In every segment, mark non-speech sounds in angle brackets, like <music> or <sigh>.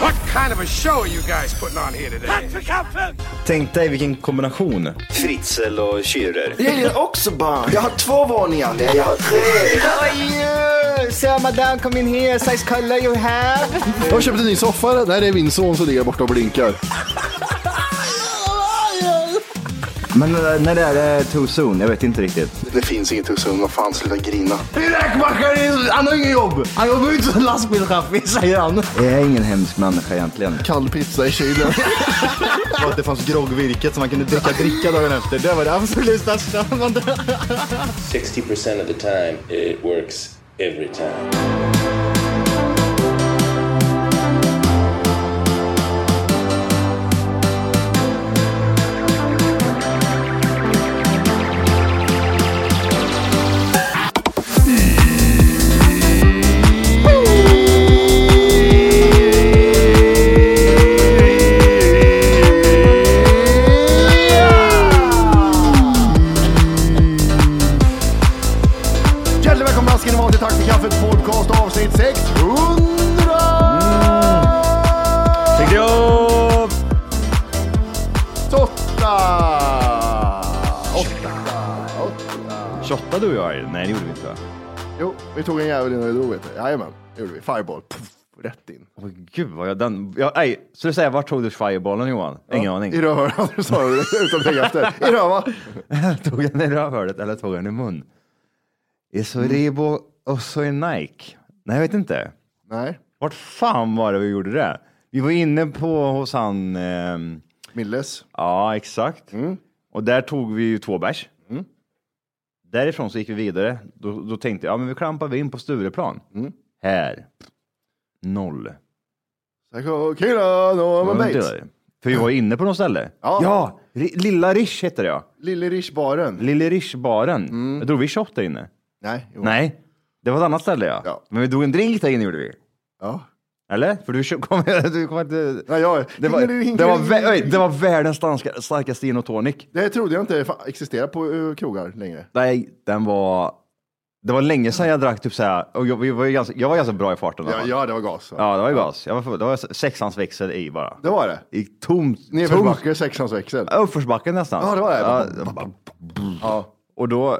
What kind of a show are you guys putting on here today? Tänk dig vilken kombination. Fritzl och Schürrer. Jag gillar också barn. Jag har två våningar. Nej, jag har tre. How are you? Sir, madame, come in here. Size color you have. Jag har köpt en ny soffa. Där är min son som ligger borta och blinkar. Men eh, när det är det too soon? Jag vet inte riktigt. Det finns inget hos honom. Vad fan, sluta grina. Min räkmackare, han har inget jobb. Han jobbar inte som lastbilschaffis, säger han. Jag är ingen hemsk människa egentligen. Kall pizza i <laughs> kylen. Och att det fanns groggvirket som man kunde dricka dricka dagen efter. Det var det absolut största. 60% of the time it works every time. Hjärtligt välkomna ska ni vara till Tack för kaffet podcast avsnitt 600! Tycker jag! Åtta! Åtta! Åtta! 28 du och jag är. Nej, det gjorde vi inte va? Jo, vi tog en jävel innan vi drog vet du. Jajamän, det gjorde vi. Fireball. Puff, rätt in. Åh, Gud vad jag den... Jag, nej, så du säger, vart tog du fireballen Johan? Ingen aning. I röven, du <laughs> sa det utan att tänka efter. I röva. <laughs> tog jag den i rövhålet eller tog jag den i mun? I Soribo och så i Nike? Nej, jag vet inte. Nej, Vart fan var det vi gjorde det? Vi var inne på hos han, ehm, Milles. ja exakt. Mm. Och där tog vi ju två bärs. Därifrån så gick vi vidare. Då, då tänkte jag, ja men vi klampar vi in på Stureplan. Mm. Här. Noll. Tack och killar, no man baits. För vi var inne på något ställe. Ja. Ri- Lilla Rish heter det ja. Lille Rish-baren. Lille Rish-baren. Jag drog vi shot där inne? Nej, Mm. jo. Nej, det var ett annat ställe ja. Ja. Men vi drog en drink där inne gjorde vi. Ja. Eller? För du kö- <laughs> kom, du kom inte... Nej, jag- det, <laughs> var, Hinkeling, det, var, hinkeling. vä- oj, det var världens starka, starkaste gin och tonic. Det här trodde jag inte fa- existerade på eh, krogar längre. Nej, den var... Det var länge sedan jag drack typ såhär, och jag, vi var ju ganska, jag var ganska bra i farten. i alla Ja, fall. ja det var gas. va? ja, det var ju gas. Jag var, full. det var sexans växel i bara. Det var det. I tomt... tomt- Nedförsbacke, sexans växel. Uppförsbacke nästan. Ja, det var det. Ja, Ja. och då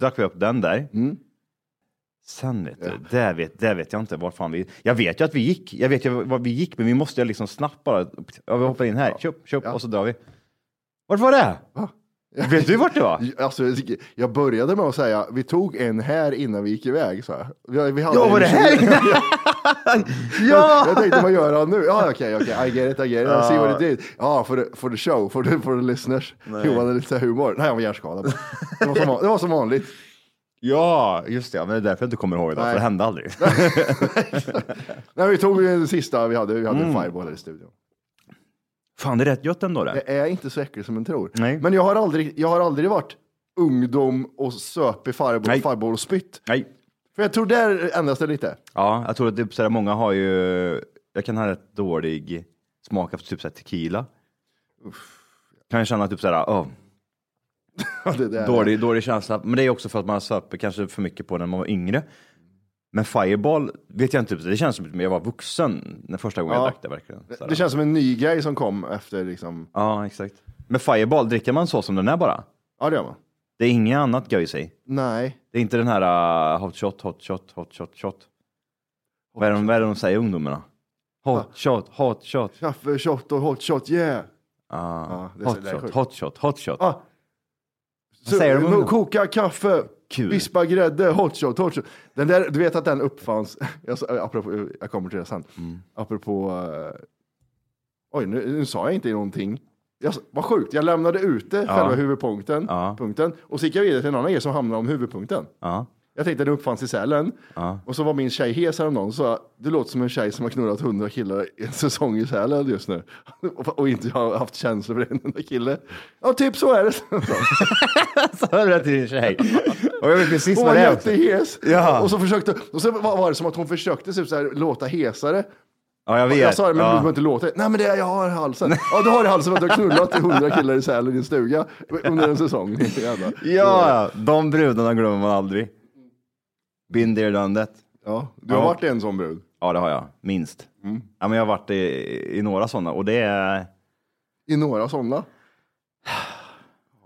drack vi upp den där. Sen vet du, där, vet, där vet jag inte vart fan vi... Jag vet ju att vi gick, jag vet ju var vi gick, men vi måste ju liksom snabbt bara... Ja, vi hoppar in här, tjopp, tjopp, och så drar vi. Vart var det? Vet du vart det var? Alltså, jag började med att säga, vi tog en här innan vi gick iväg. Så här. Vi, vi hade Ja, en- var det <laughs> här? ja! Jag tänkte, vad gör han nu? Ja, okej, okej, I get it, I get it, I see what it did. Ja, for the, for the show, for the, for the listeners. Johan är lite så här humor. Nej, han var hjärnskadad. Det var som, van- det var som vanligt. <laughs> Ja, just det. Men det är därför jag inte kommer ihåg det, Nej. för det hände aldrig. <laughs> Nej, vi tog den sista vi hade, vi Mm. hade en fireball här i studion. Fan, det är rätt gött ändå det. Det är inte så äckligt som man tror. Nej. Men jag har aldrig, jag har aldrig varit ungdom och söp i fireball, Nej. fireball och spytt. Nej. För jag tror där ändras det lite. Ja, jag tror att typ sådär, många har ju... Jag kan ha rätt dålig smak av typ såhär tequila. Kan jag känna typ såhär, oh, Ja, det där. dålig, dålig känsla. Men det är också för att man söper kanske för mycket på den när man var yngre. Men Fireball vet jag inte, typ, det känns som att jag var vuxen när första gången Ja. jag drack det verkligen. Sådär. Det känns som en ny grej som kom efter liksom, Ja, exakt. Men Fireball, dricker man så som den är bara? ja det gör man. Det är inget annat göj i sig. Nej. Det är inte den här uh, hot shot, hot shot, hot shot, shot. Vad är, de, vad är det de säger ungdomarna? Ah. Hot shot, hot shot. Kaffe, shot och hot shot, yeah. Ah, det är så- hot, det är shot sjukt. hot shot, hot shot. Ah. säger de om no, det? koka kaffe. Kul. Vispa grädde, hot shot, hot shot. Den där, du vet att den uppfanns, <laughs> jag, sa- apropå, jag kommer till det sen, Mm. apropå, eh, oj nu, nu sa jag inte någonting. Jag, sa- vad sjukt, jag lämnade ute själva huvudpunkten Ja. punkten, och så gick jag vidare till en annan grej som handlade om huvudpunkten. Ja. <laughs> Jag tänkte den uppfanns i Sälen. Och så var min tjej hes häromdagen och sa, du låter som en tjej som har knullat hundra killar i en säsong i Sälen just nu. <laughs> Och, och inte har haft känslor för en enda kille. Ja, typ så är det. <laughs> <laughs> Sa du det till din tjej? Och jag vet precis Hon vad var det är. också. jättehes. Ja. Och så försökte, och så var var det som att hon försökte typ så här, låta hesare. Ja, jag vet. Jag sa det, men du ja. behöver inte låta. Nej, men det är jag har i halsen. Ja, du har i halsen för att du har knullat hundra killar i Sälen i din stuga under en säsong. <laughs> Jävlar. Ja, de brudarna glömmer man aldrig. Been there, done that. ja. Du har Ja. varit en sån brud. Ja, det har jag. Minst. Mm. Ja, men jag har varit i, i några sådana och det är, I några sådana.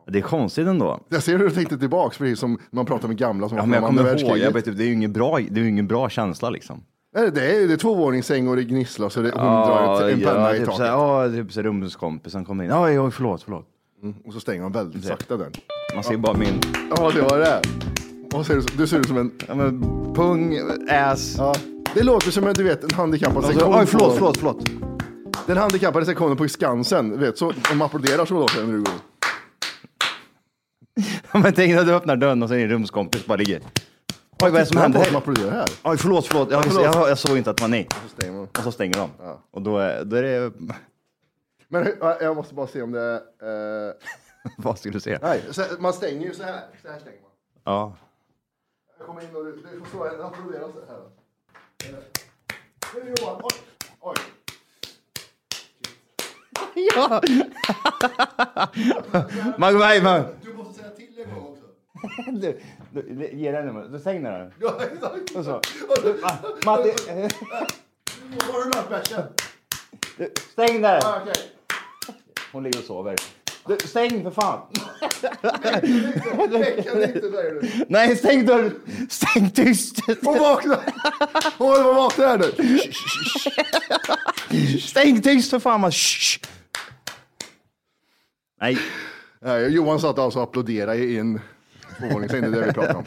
det är konstigt ändå. Jag ser hur du tänkte tillbaks, precis som man pratar med gamla som Ja, var men från jag andra kommer ihåg, världskriget. Mm, jag vet, inte, det är ju ingen bra, det är ju ingen bra känsla liksom. Nej, det, är, det är tvåvåningssäng och det gnisslas och det, hon drar ett, en penna ja, i typ taket. såhär, ja, typ såhär rumskompisen kommer in. Oj, oj, förlåt, förlåt. Och så stänger hon väldigt sakta den. Man ser bara min Ja, det var det. Och ser, du- du ser ut som en... ja, men, pung, ass. Ja, det låter som en, du vet, en handikappad Och så, sektion. Alltså, oj, förlåt, på- förlåt, förlåt. <laughs> Den handikappade sektionen på Skansen, du vet, så de applåderar så låter det när du går. Ja, men tänk när du öppnar dörren och så är din rumskompis bara ligger. Oj, vad är det som händer? Som här? applåderar här. Oj, förlåt, förlåt. Jag, Typ förlåt. jag, jag såg inte att det var ni. Så stänger man. Och så stänger de. Och då är, då är det... <laughs> Men hur- ja, jag måste bara se om det... är, Eh, Vad skulle du säga? nej, så, man stänger ju så här. Så här stänger man. Ja. Jag kommer in och du, du får stå här. Applådera så här. Eh, Nu Johan, oj! Oj! <laughs> Ja! man, man, man. Du måste säga till en gång också. <laughs> Du, du, ge den numret. Du stäng den. Ja, exakt. Och så. Ah, Och så- Matti, <laughs> Har du nattbärsen? du, stäng den. Ja, okej. Hon ligger och sover. Du, stäng för fan. Veckan inte, säger du. Nej, stäng dörren. Stäng tyst. Hon vaknar! Hon var vaknar här nu. <laughs> Stäng tyst för fan. Man. Shh. Nej, Nej, Johan satt alltså och applåderade i en tvåvåningssäng, det är det vi <laughs> pratar om.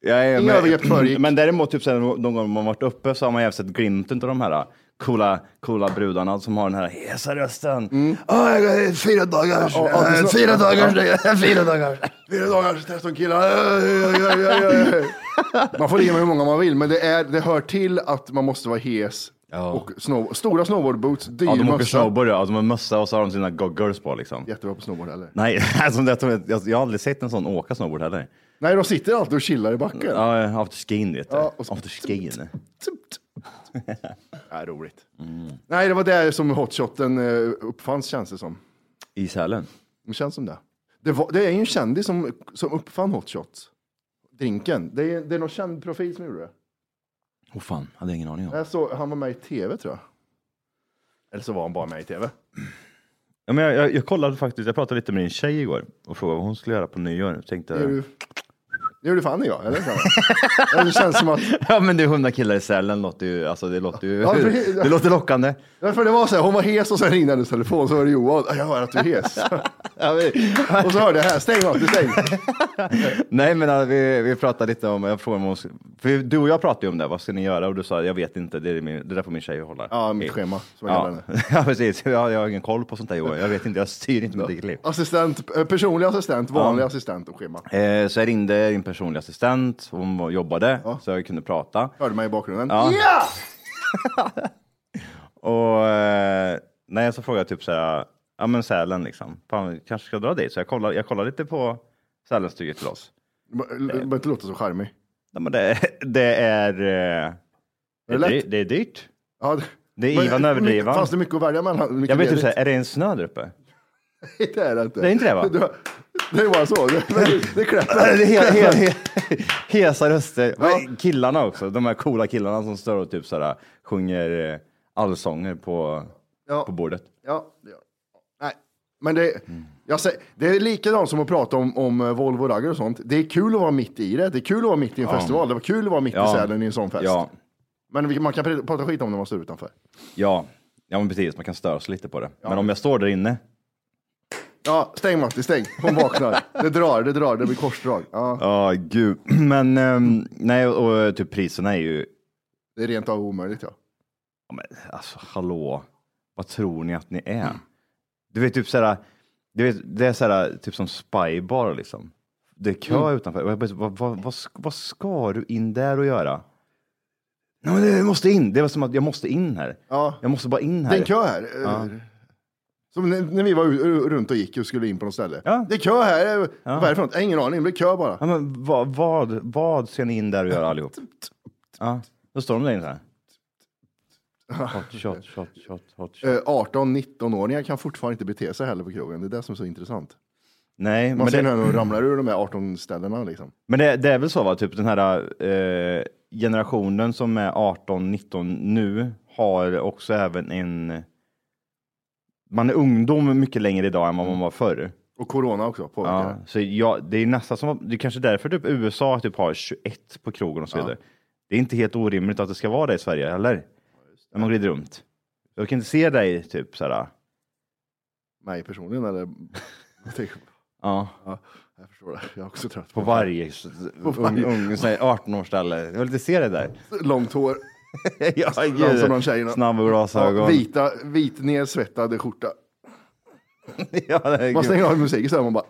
jag är Inga övergrepp föregick. Men däremot, typ, så här, någon gång man varit uppe så har man ju sett glimten av de här äh, coola, coola brudarna som har den här hesa rösten. Åh, jag har fyra dagars, Mm. Ja, ja, det är eh, så- fyra <laughs> dagars, fyra dagars. Fyra dagars 13 killar. Man får ligga med hur många man vill, men det, är, det hör till att man måste vara hes. Och snow, stora snowboardboots, dyr Ja, de åker mössa. snowboard, ja. De har mössa och så har de sina goggles på liksom. Jättebra på snowboard eller? Nej, <laughs> alltså, det- jag, jag har aldrig sett en sån åka snowboard heller. Nej, de sitter alltid och chillar i backen. Ja. Ja, afterskin vet du. Ja, och så- Afterskin. <laughs> Ja, roligt. Mm. Nej, det var där som hotshoten eh, uppfanns känns det som. I Sälen. Det känns som det. Det, var, det är ju en kändis som, som uppfann hotshot. Drinken. Det är, det är någon känd profil som gjorde det. Åh oh, fan, hade jag ingen aning om. Jag såg, han var med i tv tror jag. Eller så var han bara med i tv. Ja, men jag, jag, jag kollade faktiskt, jag pratade lite med din tjej igår och frågade vad hon skulle göra på nyår. Jag Tänkte, Det gjorde- det gjorde Fanny ja, eller? Ja, det känns som att, Ja men det är hundra killar i Sälen låter ju, alltså det låter ju, Ja, <laughs> precis. det låter lockande. Ja, för det var så här, hon var hes och sen ringde hennes telefon så var det Johan. Jag hör att du är <laughs> hes. Och så hörde jag här, stäng av, stäng. Nej men äh, vi, vi pratade lite om, jag frågade om hon, sk- för du och jag pratade ju om det, vad ska ni göra? Och du sa, jag vet inte, det, är min, det där får min tjej hålla. Ja, mitt schema som jag Ja, <laughs> kallar henne. ja precis, jag, jag har ingen koll på sånt där Johan, jag vet inte, jag styr inte mitt eget liv. Assistent, eh, personlig assistent, vanlig assistent och schema. Eh, så jag ringde din personliga assistent, hon var- jobbade, så jag kunde prata. Hörde mig i bakgrunden. Ja. Och eh, nej, så frågade jag typ så här, ja men Sälen liksom, fan vi kanske ska dra dit. Så jag kollade, jag kollade lite på Sälenstuget till oss. Behöver inte låta så charmig. Nej, men det, <laughs> det är, eh, det, Är det är dy, lätt? det är dyrt. Ja, det, Det är Ivan Överdrivan. Fanns det mycket att välja mellan? Mycket Jag vet inte, så ledigt? här, är det en snö där uppe? Nej, <laughs> det är <laughs> det inte. Det är inte det, va? Du- Det är bara så. Det, det, det är klättrar. <laughs> Det är he, he, he, hesa röster. Men Killarna också, de här coola killarna som står och typ så här, sjunger eh, allsånger på, Ja. på bordet. Ja, det gör det. Nej, men det, jag säger, det är likadant som att prata om, om eh, Volvo Raggar och sånt. Det är kul att vara mitt i det. Det är kul att vara mitt i en festival. Det var kul att vara mitt i Ja. Sälen i en sån fest. Ja, Men vi- man kan pr- prata skit om när man står utanför. ja, ja men precis, man kan störa sig lite på det. Men om jag står där inne, Ja, stäng Matti, stäng. Hon vaknar. Det drar, det drar, det blir korsdrag. Ja, Ja, gud. <clears throat> Men ehm, nej, och, och typ priserna är ju... det är rent av omöjligt ja. ja, Men, alltså, hallå. Vad tror ni att ni är? Du vet, typ såhär... Du vet, det är såhär, typ som spybar liksom. Det är kö Mm. utanför. Vad, vad, vad, vad, sk- vad ska du in där och göra? Nej, men jag måste in. Det var som att jag måste in här. Ja. Jag måste bara in här. Det är en kö här. Som när- när vi var u- runt och gick och skulle in på något ställe. Ja. Det är kö här. Vad är det för något? Ingen aning, det blir kö bara. Ja, men vad, vad, vad ska ni in där och göra allihop? Ja, då står de där inne så här. Hot <laughs> shot, shot, shot, hot shot. Eh, 18-19-åringar kan fortfarande inte bete sig heller på krogen. Det är det som är så intressant. Nej, men Man ser det, när de ramlar ur de här 18 ställena liksom. men det, det är väl så va, typ den här eh, generationen som är 18, 19 nu har också även en... Man är ungdom mycket längre idag än vad man var förr. Och corona också påverkar Ja, det. så jag, det är nästan som, det är kanske därför typ USA typ har 21 på krogen och så vidare. Det är inte helt orimligt att det ska vara det i Sverige heller. När man glider runt. Jag kan inte se dig typ såhär, Mig personligen eller? <laughs> Jag tänker, ja, ja, jag förstår det. Jag är också trött. på varje s- ung, varje- ung så här 18-årsställe. Jag vill inte se dig där. Långt hår. <laughs> ja, Som som de tjejerna. Snabba glasögon. Ja, vita, vit nedsvettade skjorta. <laughs> ja, det är Man gult, stänger av musiken så här, man bara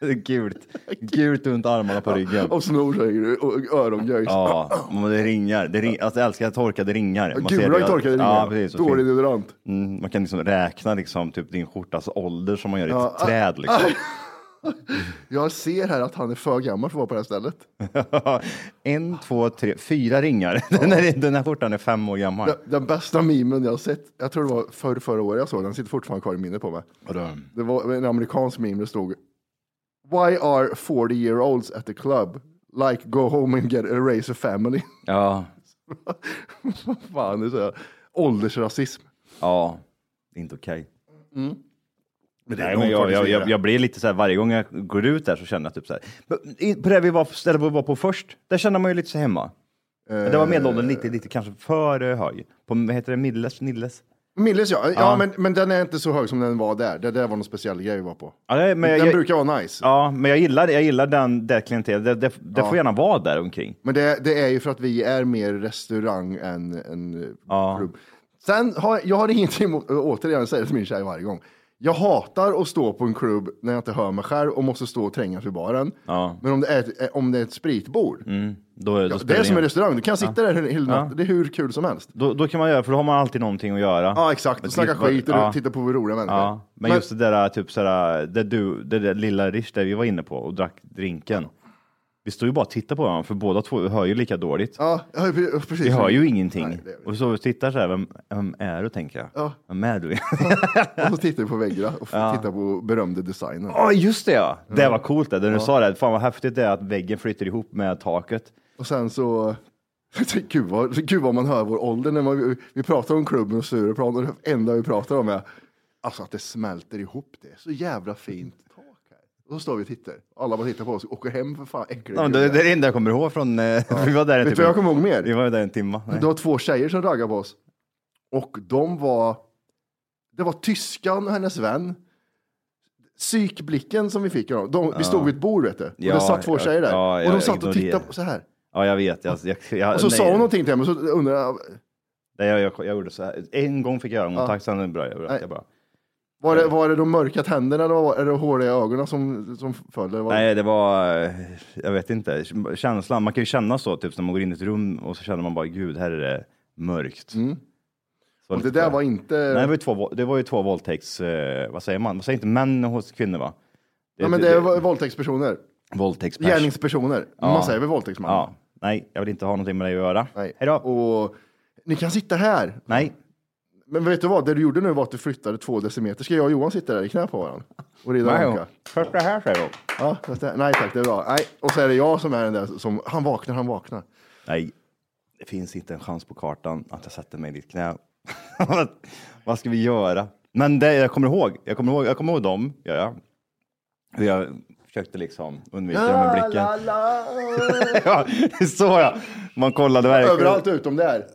det är gult. Gult runt armarna på ryggen. och snor sig och örongöjs. Ja, men det ringar. Det ring, alltså, jag älskar torkade ringar. Man ser det. Gula i torkade Ja, ringar. precis. Och Dålig fint. deodorant. Mm, man kan liksom räkna liksom, typ din skjortas ålder som man gör i ett Ja, ah, träd. Liksom. Jag ser här att han är för gammal för att vara på det här stället. Ah. <laughs> en, två, tre, fyra ringar. <laughs> den, här, den här skjortan är fem år gammal. Den, den bästa memen jag har sett, jag tror det var förr, förra året jag såg den, den sitter fortfarande kvar i minnet på mig. Det var en amerikansk meme, det stod Why are 40 year olds at the club? Like go home and get a raise a family. <laughs> Ja, Vad fan, det är så här, åldersrasism. ja, det är inte okej. Men det är Nej, nog men jag, faktiskt jag, det. jag, jag blir lite så här varje gång jag går ut där så känner jag typ så här. Men i- På det vi var, stället vi var på först, där känner man ju lite så hemma. Men Eh, Det var medelåldern lite, lite kanske för eh, hög. På, vad heter det, Milles? Nilles? Milles ja, ja, Men, men den är inte så hög som den var där. Det där var någon speciell grej vi var på. Ja, det- men den jag, brukar vara nice. ja, men jag gillar, jag gillar den, det klientelet. Det, det, det får gärna vara där omkring. Men det, det är ju för att vi är mer restaurang än, än Ja. klubb. Sen har jag har ingenting emot, ö, återigen säger det till min tjej varje gång. Jag hatar att stå på en klubb när jag inte hör mig själv och måste stå och tränga till baren. Men om det är ett, om det är ett spritbord, Mm, Då, då ja, det spelar är som ingen- en restaurang, du kan sitta där hela hela natten, det är hur kul som helst. Då, då kan man göra, för då har man alltid någonting att göra. Ja exakt, Men och snacka typ bara- skit och ja, titta på roliga människor. ja. Men, Men- just det där, typ sådär, det, du, det där lilla Rish där vi var inne på och drack drinken. Vi står ju bara och tittar på varandra, för båda två hör ju lika dåligt. Ja, ja, pre- precis. Vi hör ju ingenting. Nej, det gör vi och så tittar så här, vem, vem är du tänker jag? Ja. Vem är <laughs> du? Och så tittar vi på väggarna och tittar på berömda designen. Ja, just det Mm. ja! Det var coolt det, när du sa det. Fan vad häftigt det är att väggen flyter ihop med taket. Och sen så, <laughs> gud vad, gud vad man hör vår ålder när man, vi pratar om klubben och Stureplan och det enda vi pratar om är alltså att det smälter ihop det. är Så jävla fint tak här. Och så står vi och tittar. Alla bara tittar på oss och åker hem för fan äckliga Ja, men det, det är det enda jag kommer ihåg från... eh, <laughs> vi var där en Vet du timme. vad jag kommer ihåg Vi mer? var där en timme. Nej. Det var två tjejer som raggade på oss. Och de var, det var tyskan och hennes vän. Psykblicken som vi fick av dem. De, vi stod vid ett bord vet du. Och Ja, det satt två ja, tjejer där. ja, och jag de satt och ignorerar. tittade på så här. Ja, jag vet. Jag, jag, jag, Och så sa nej. hon någonting till mig och så undrade jag, Nej, jag, jag, jag gjorde så här. En gång fick jag ögonkontakt, sen bröt jag. bröt Nej. jag bara. Var Eh. det, var det de mörka tänderna eller var är det håriga ögonen som, som föll? Eller var Nej, det var, eh, jag vet inte, känslan. Man kan ju känna så, typ när man går in i ett rum och så känner man bara, gud, här är det mörkt. Så Mm. och det lite där så. var inte... Nej, det var ju två, det var ju två våldtäkts, eh, vad säger man? Man säger inte män hos kvinnor, va? Det, typ ja, men det var våldtäktspersoner. våldtäktspers. Gärningspersoner. Man säger väl våldtäktsman? Ja, nej, jag vill inte ha någonting med det att göra. Nej. Hej då. Och ni kan sitta här. Nej, Men vet du vad? Det du gjorde nu var att du flyttade två decimeter. Ska jag och Johan sitta där i knä på varandra? Och rida nej. anka? Först det här säger hon. Ja, fast det- nej tack, det är bra. Nej. Och så är det jag som är den där som, han vaknar, han vaknar. Nej, det finns inte en chans på kartan att jag sätter mig i ditt knä. <laughs> vad, vad ska vi göra? Men det jag kommer ihåg, jag kommer ihåg, jag kommer ihåg dem, gör jag. Hur Jag försökte liksom undvika dem med blicken. La, la, la. <laughs> ja, så ja. Man kollade verkligen. <laughs> Överallt utom där.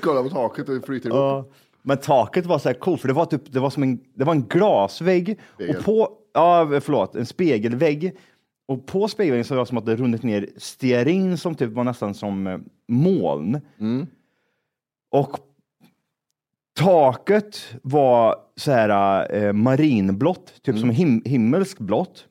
Kolla på taket och flyter ihop. Ja. Men taket var så här coolt, för det var, typ, det var som en, det var en glasvägg. Spegel. Och på, ja, förlåt, en spegelvägg. Och på spegelväggen så var det som att det runnit ner stearin som typ var nästan som eh, moln. Och taket var så här eh, marinblått, typ som him himmelsk blått.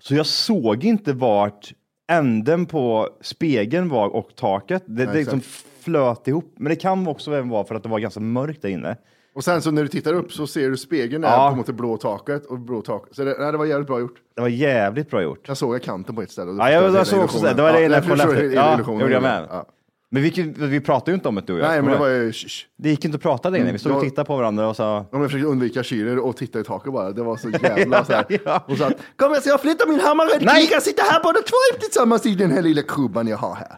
Så jag såg inte vart änden på spegeln var och taket. Det, det exakt. liksom flöt ihop. Men det kan också även vara för att det var ganska mörkt där inne. Och sen så när du tittar upp så ser du spegeln där Ja. på mot det blå taket. Och blå taket. Så det, nej, det var jävligt bra gjort. Det var jävligt bra gjort. Jag såg jag kanten på ett ställe. och då Ja, jag, förstörde jag såg hela också det. illusionen. Det var det Ja, innan jag därför kollade förstörde efter. hela Ja, illusionen. gjorde jag med. Ja. Men vi, vi pratade ju inte om det du och jag. Nej, men det Kommer var du ihåg? ju... sh- sh. det gick inte att prata där inne. Vi stod och jag- tittade på varandra och sa... Ja, men Jag försökte undvika kyler och titta i taket bara. <laughs> Det var så jävla så här. ja. Och så att, kom jag ska jag flytta min hammare? Nej! Vi kan sitta här båda två tillsammans i den här lilla krubban jag <laughs> har här.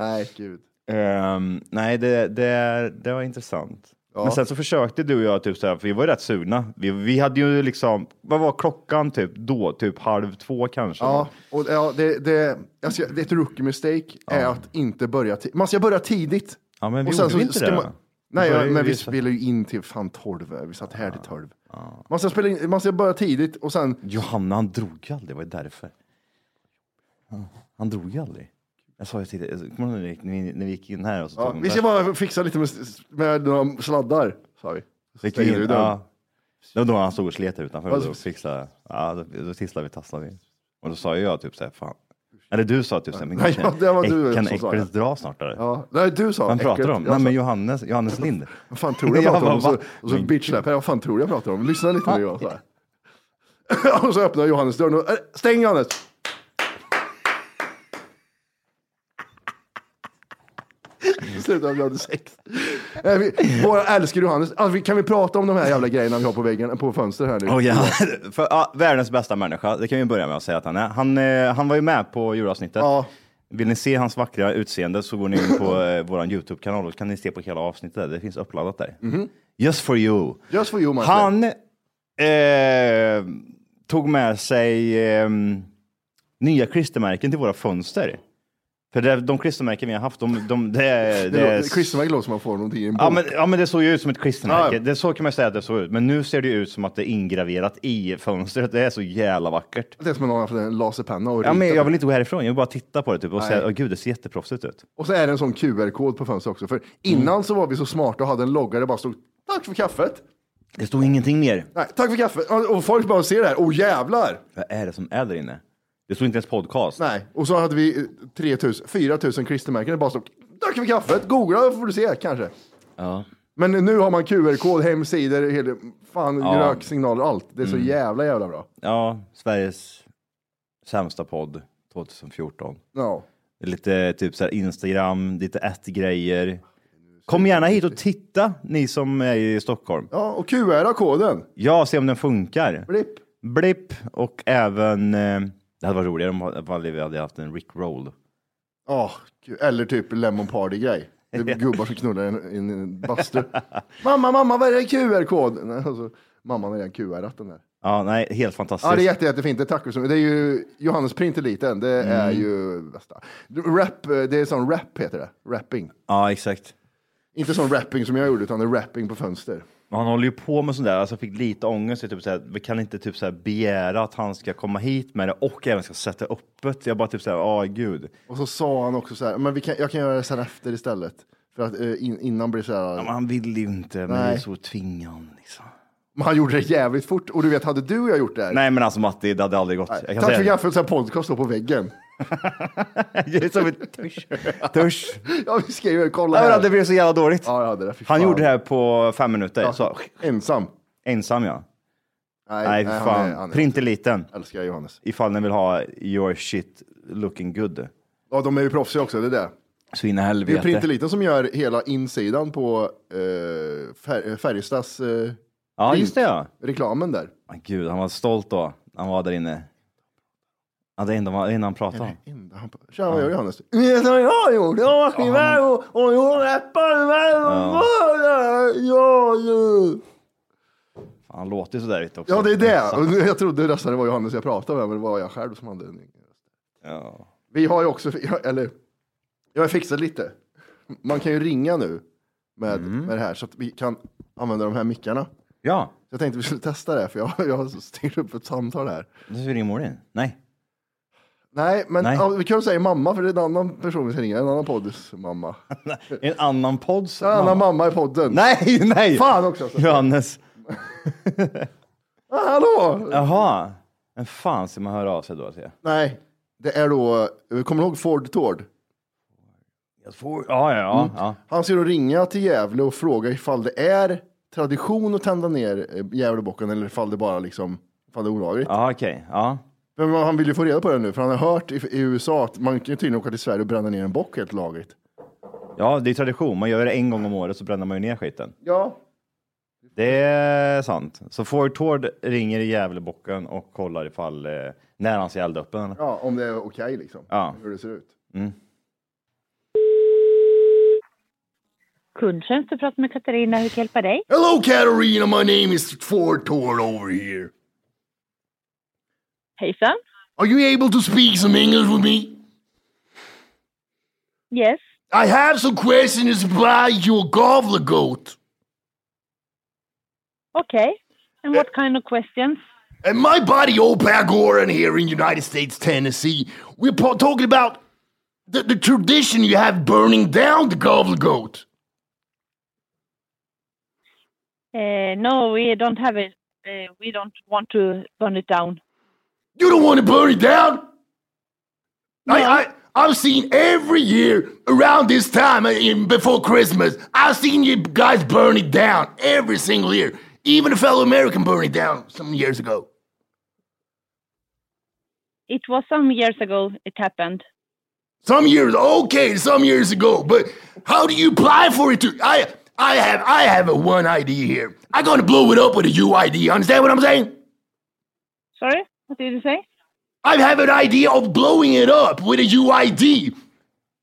Nej, gud. Ehm, nej, det, det, det var intressant. Men sen så försökte du och jag, typ så här, för vi var ju rätt sugna. Vi, vi hade ju liksom, vad var klockan typ då? Typ halv två kanske? Ja, och ja, det, det, alltså, det är ett rookie mistake är att inte börja tidigt. Man ska börja tidigt. Ja, men vi Och sen gjorde så vi inte ska det. man- Vi Nej, började ju men vi visa- spelade ju in till fan tolv. Vi satt här till tolv. Man, ska spela in, man ska börja tidigt och sen... Johanna, han drog ju aldrig, det var ju därför. Ja, Han drog ju aldrig. Jag sa ju till dig, jag kommer du ihåg när vi gick- när vi- när vi gick in här? Och så Ja, tog hon vi ska där? bara fixa lite med, med några sladdar, sa vi. Så Gick stänger in, vi dörren. ja. Det var då han stod och slet här utanför. Och Alltså- då, fixade, ja, då, då tisslade vi tasslade vi. Och då sa ju jag typ så här, fan. Eller du sa typ så här, men Nej, kanske ja, det var du kan som sa äcklet dra snart? Eller? Ja, nej, du sa Vem pratar äckligt. du om? Jag Nej, sa, men Johannes, Johannes Lind. <laughs> Vad <laughs> fan tror du jag pratar om? Och bara, så, va? och så bitchlappar jag. Vad fan tror du jag pratar om? Lyssna lite nu. Jag, så här. <laughs> och så öppnar Johannes dörren och äh, stäng Johannes! <laughs> Sluta med Johannes sex. Nej, vi- Våra älskar Johannes. Alltså, vi- kan vi prata om de här jävla grejerna vi har på väggen, på fönstret här nu? Oh, ja. För, ja, världens bästa människa, det kan vi börja med att säga att han är. Han, eh, han var ju med på julavsnittet. Ja. Vill ni se hans vackra utseende så går ni in på eh, vår Youtube-kanal och kan ni se på hela avsnittet. Där. Det finns uppladdat där. Just for you. Mhm. Just for you, Martin. Han eh, tog med sig eh, nya klistermärken till våra fönster. För det, de klistermärken vi har haft, de, de, det, är- Det det är- är Christer låter som man får någonting i en bok. Ja men, ja, men det såg ju ut som ett Ja, klistermärke. ja. Det, så kan man säga att det såg ut. Men nu ser det ju ut som att det är ingraverat i fönstret. Det är så jävla vackert. Det är som om någon har haft en laserpenna och Ja, men ritat jag vill inte gå härifrån. Jag vill bara titta på det typ, och Nej. säga, åh gud, det ser jätteproffsigt ut. Och så är det en sån QR-kod på fönstret också. För innan Mm. så var vi så smarta och hade en logga där det bara stod tack för kaffet. Det stod ingenting mer. Nej, tack för kaffet. Och och folk bara ser det här. Åh jävlar! Vad är det som är där inne? Det stod inte ens podcast. Nej, och så hade vi eh, 3000, 4000 klistermärken. Det bara stod tack för kaffet. Googla får du se kanske. Ja. Men nu har man QR-kod, hemsidor, hela, fan, röksignaler, allt. Det är så jävla jävla bra. ja, Sveriges sämsta podd 2014. Ja. Lite typ så här Instagram, lite ett-grejer. Kom gärna hit och titta, ni som är i Stockholm. ja, och QR-koden. Ja, se om den funkar. Blipp. Blipp och även, eh, det hade varit roligare om Valley hade haft en Rick Roll. Ja, gud. eller typ Lemon Party-grej. Det är gubbar som knullar i en, i en bastu. mamma, mamma, vad är det QR-kod? Nej, alltså, mamman har redan QR-at den där. Ja, nej, helt fantastiskt. Ja, det är jätte, jättefint. Det, tack så mycket. det är ju Johannes Print är liten. Det är Mm. ju bästa. Rap, eh, det är sån rap heter det. Rapping. ja exakt. Inte sån rapping som jag gjorde, utan det är rapping på fönster. Men Han håller ju på med sånt där, alltså jag fick lite ångest. Jag Typ såhär, vi kan inte typ såhär begära att han ska komma hit med det och även ska sätta öppet. Jag bara typ såhär, åh gud. Och så sa han också så här, men vi kan, jag kan göra det så här efter istället. För att eh, in, innan blir det så här. Ja, men han vill ju inte, men Nej. det är så tvingande. Liksom. Men han gjorde det jävligt fort. Och du vet, hade du och jag gjort det här? Nej men alltså Matti, det hade aldrig gått. Jag kan Tack för säga, kaffet, så här podcast står på väggen. <laughs> det <laughs> är som ett törs. törs. Ja, vi skrev ju, kolla Nej, här. men det blev så jävla dåligt. Ja, ja, det där, fy Han fan. gjorde det här på fem minuter, Ja. så, Ensam. ensam ja. Nej, Nej, nej, för han är- fan. han är- Print är liten. Älskar jag Johannes. Ifall ni vill ha your shit looking good. Ja, de är ju proffsiga också, det är det. Så in i Det är helvete. Printeliten som gör hela insidan på eh, Fär- Färjestads eh, Ja, just det ja. reklamen där. Ah, gud, han var stolt då. Han var där inne. Ja, det är enda han- det enda han pratade om. Enda han på- Tja, vad gör Johannes? Vet du vad jag gjorde? Jag var skrivare och, och jag rappade med Ja. ja, ja. Fan, Han låter ju sådär lite också. ja, det är det. Och nu- Jag trodde nästan det var Johannes jag pratade med, men det var jag själv som hade en. Ja. Vi har ju också, eller, jag har fixat lite. Man kan ju ringa nu med, med det här så att vi kan använda de här mickarna. Ja, Jag tänkte vi skulle testa det, för jag, jag har styrt upp ett samtal här. nu ska vi ringa Morin. Nej. Nej, men Nej. Ja, vi kan ju säga mamma, för det är en annan person vi ska ringa, en annan <laughs> podds mamma. En annan podd. En annan mamma i podden. Nej, <laughs> nej! Fan också! Alltså. Johannes. Ah, hallå! Jaha. Men fan ska man höra av sig då? Till? Nej, det är då, kommer du ihåg Ford Tord? Jag får... Ja, ja, ja. Mm. ja. Han ska då ringa till Gävle och fråga ifall det är tradition att tända ner eh, Gävlebocken eller ifall det bara liksom, ifall det är olagligt. Ja, okej. Ja. Men han vill ju få reda på det nu, för han har hört i, i USA att man kan ju tydligen åka till Sverige och bränna ner en bock helt lagligt. ja, det är tradition. Man gör det en gång om året så bränner man ju ner skiten. Ja. Det är sant. Så Ford Tord ringer i Gävlebocken och kollar ifall eh, när han ska elda upp den. Ja, om det är okej liksom. Ja. Hur det ser ut. Kundtjänst, du pratar med Katarina. Hur kan jag hjälpa dig? Hello Katarina, my name is Ford Tord over here. Hejsan. Are you able to speak some English with me? Yes. I have some questions about your gobble goat. Okay. And what kind of questions? And my buddy Opak Oren here in United States, Tennessee, we're po- talking about the, the tradition you have burning down the gobble goat. Uh, no, we don't have it. Uh, we don't want to burn it down. You don't want to burn it down? I, No. I, I've seen every year around this time, uh, in, before Christmas, I've seen you guys burn it down every single year. Even a fellow American burned it down some years ago. It was some years ago it happened. Some years, okay, some years ago, but how do you apply for it? To I, I have, I have a one ID here. I'm gonna blow it up with a UID. Understand what I'm saying? Sorry? What did you say? I have an idea of blowing it up with a UID.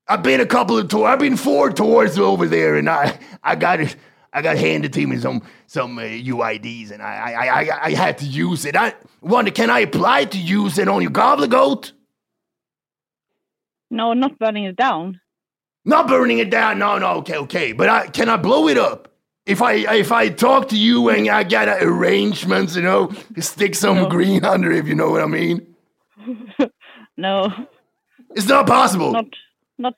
I've been a couple of tours. I've been four tours over there, and I, I got it. I got handed to me some some uh, UIDs, and I, I, I, I- I had to use it. I wonder, can I apply to use it on your goblet goat? No, not burning it down. Not burning it down. No, no. Okay, okay. But I can I blow it up? If I if I talk to you and I got uh, arrangements, you know, stick some green <laughs> under, if you know what I mean. No, It's not possible. not, not.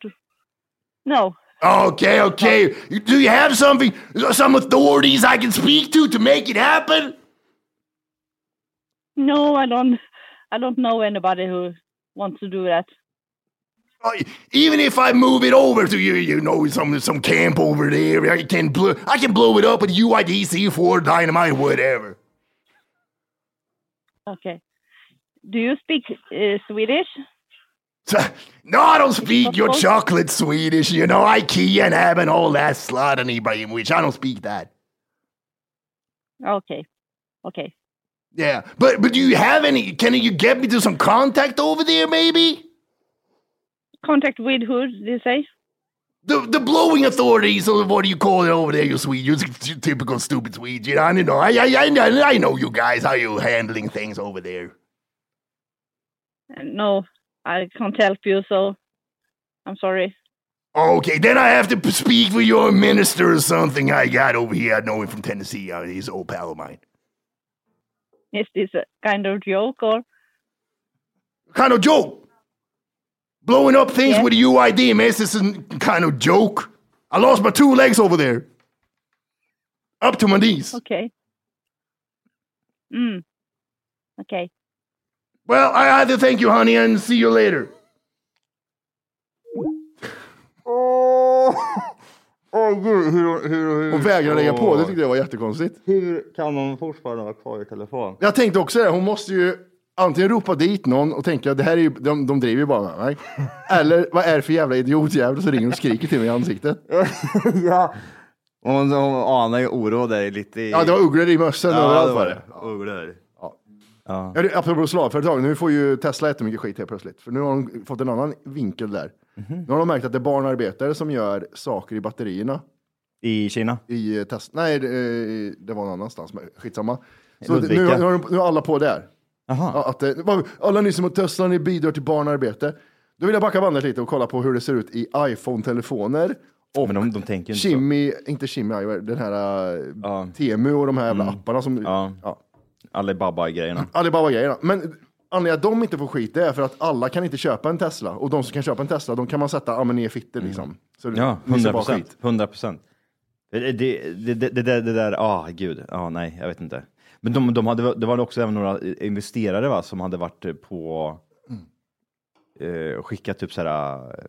No. Okay, okay. You- Do you have something, some authorities I can speak to to make it happen? No, I don't. I don't know anybody who wants to do that. Uh, Even if I move it over to you, you know, some some camp over there, I can blow, I can blow it up with UIDC for dynamite, whatever. Okay. Do you speak uh, Swedish? <laughs> No, I don't speak Of your course. chocolate Swedish, you know, IKEA and Ab and all that slot and Ibrahimovic. I don't speak that. Okay. Okay. Yeah, but but do you have any? Can you get me to some contact over there, maybe? Contact with who? Did you say? The the blowing authorities, or what do you call it over there, you Swede? You typical stupid Swede. You know, I know, I, I, I, I know you guys, how you handling things over there. No, I can't help you, so I'm sorry. Okay, then I have to p- speak with your minister or something I got over here. I know him from Tennessee. Uh, He's an old pal of mine. Is this a kind of joke or? Kind of joke. Blowing up things Yeah. with a UID, man. This is a kind of joke. I lost my two legs over there. Up to my knees. Okay. Mm. Okay. Well, I have to thank you, honey, and see you later. Åh gud, hur, hur, hur... Hon vägrade lägga på, det tyckte jag var jättekonstigt. Hur kan hon fortfarande vara kvar i telefon? <laughs> Jag tänkte också det, hon måste ju antingen ropa dit någon och tänka det här är ju, de, de driver ju bara <laughs> nej. Eller vad är det för jävla idiotjävel som ringer och skriker till mig i ansiktet. ja. Hon, hon anar ju oro där lite i... Ja, det var ugglor i mössen överallt var det. Ugglor. Ja, det- Apropå slavföretag, nu får ju Tesla jättemycket skit helt plötsligt. För nu har de fått en annan vinkel där. Mhm. Nu har de märkt att det är barnarbetare som gör saker i batterierna. I Kina? I eh, Tesla, nej eh, det var någon annanstans, men skitsamma. Så det, Ludvika. nu, har- nu, har de, nu har alla på där. Jaha. Ja, att eh, det, vad- alla ni som har Tesla, ni bidrar till barnarbete. Då vill jag backa bandet lite och kolla på hur det ser ut i iPhone-telefoner Och Men de, de tänker inte så. Chimmy, inte Chimmy Eyewear, den här eh, Ja. Mm. Temu och de här jävla apparna som... Ja. Ja. Alibaba-grejerna. Alibaba-grejerna. Men anledningen till att de inte får skit det är för att alla kan inte köpa en Tesla. Och de som kan köpa en Tesla, de kan man sätta, ja men ni är fitter liksom. Så Mm. Ja, ni ser 100 bara procent. 100 Mm. procent. Det, det, det, det, det där- det där, ah gud, ah, nej, jag vet inte. Men de, de hade, det var också även några investerare va, som hade varit eh, på, eh, skickat typ sådär eh,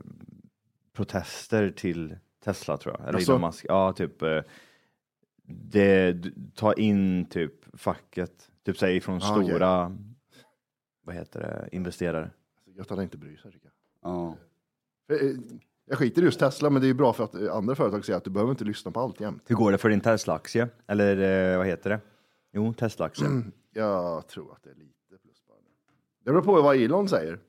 protester till Tesla tror jag, eller Jaså? Elon Musk. Ja, typ, eh, det, d- ta in typ facket, typ såhär ifrån Ah, okej. stora, vad heter det, investerare. Gött att han inte bryr sig tycker jag. Ja. För, eh, Jag skiter i just Tesla, men det är ju bra för att eh, andra företag säger att du behöver inte lyssna på allt jämt. Hur går det för din Tesla-aktie? Eller eh, vad heter det? Jo, Tesla-aktie. Jag tror att det är lite plus bara. Det beror på vad Elon säger.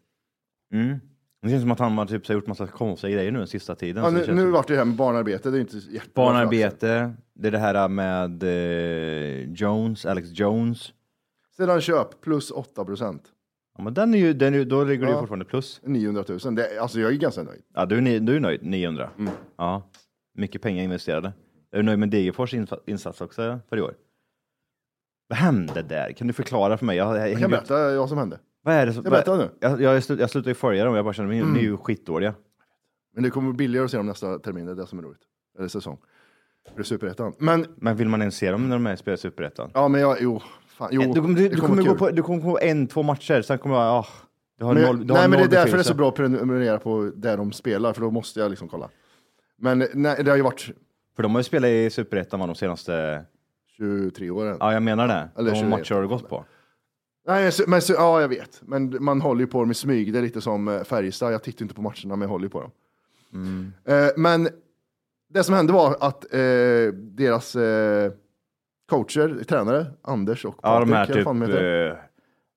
Mm. Det känns som att han har typ så här gjort massa konstiga grejer nu den sista tiden. Ja, Så det nu känns nu som- vart det här med barnarbete, det är inte jättebra. för aktien. Barnarbete, det är det här med eh, Jones, Alex Jones. Sedan köp, plus 8 procent. Ja, men den är ju, den är, ju- då ligger du Ja. ju fortfarande plus. 900 000. Det, alltså jag är ganska nöjd. Ja, du, är ni- du är nöjd, 900. Mm. Ja, mycket pengar investerade. Är du nöjd med Degerfors infa- insats också för i år? Vad hände där? Kan du förklara för mig? Jag, jag, Jag kan jag, berätta vad som hände. vad är det som, jag berätta nu? Mm. Jag, jag, slu- jag slutar ju följa dem, jag bara känner mig, ni är ju skitdåliga. Men det kommer bli billigare att se dem nästa termin, det är det som är roligt. Eller säsong. Det är superettan. Men, Men vill man ens se dem när de är spelar i Superettan? ja men jag, jo. Fan, jo Eh, du, kommer- du, det du, kommer vara gå kul. på, du kommer gå en, två matcher, sen kommer jag... ah, du har Men, noll, du har nej men det är noll därför det är betydelse. så bra att prenumerera på där de spelar, för då måste jag liksom kolla. Men nej, det har ju varit För de har ju spelat i Superettan va, de senaste... 23 åren. Ja, jag menar det. Eller de 21. matcher har du gått på. Nej, så- men, så, ja, jag vet. Men man håller ju på dem i smyg. Det är lite som eh, Färjestad. Jag tittar inte på matcherna, men jag håller ju på dem. Mm. Eh, men det som hände var att eh, deras eh, coacher, tränare, Anders och Ja, de här eller vad typ... fan de heter. eh,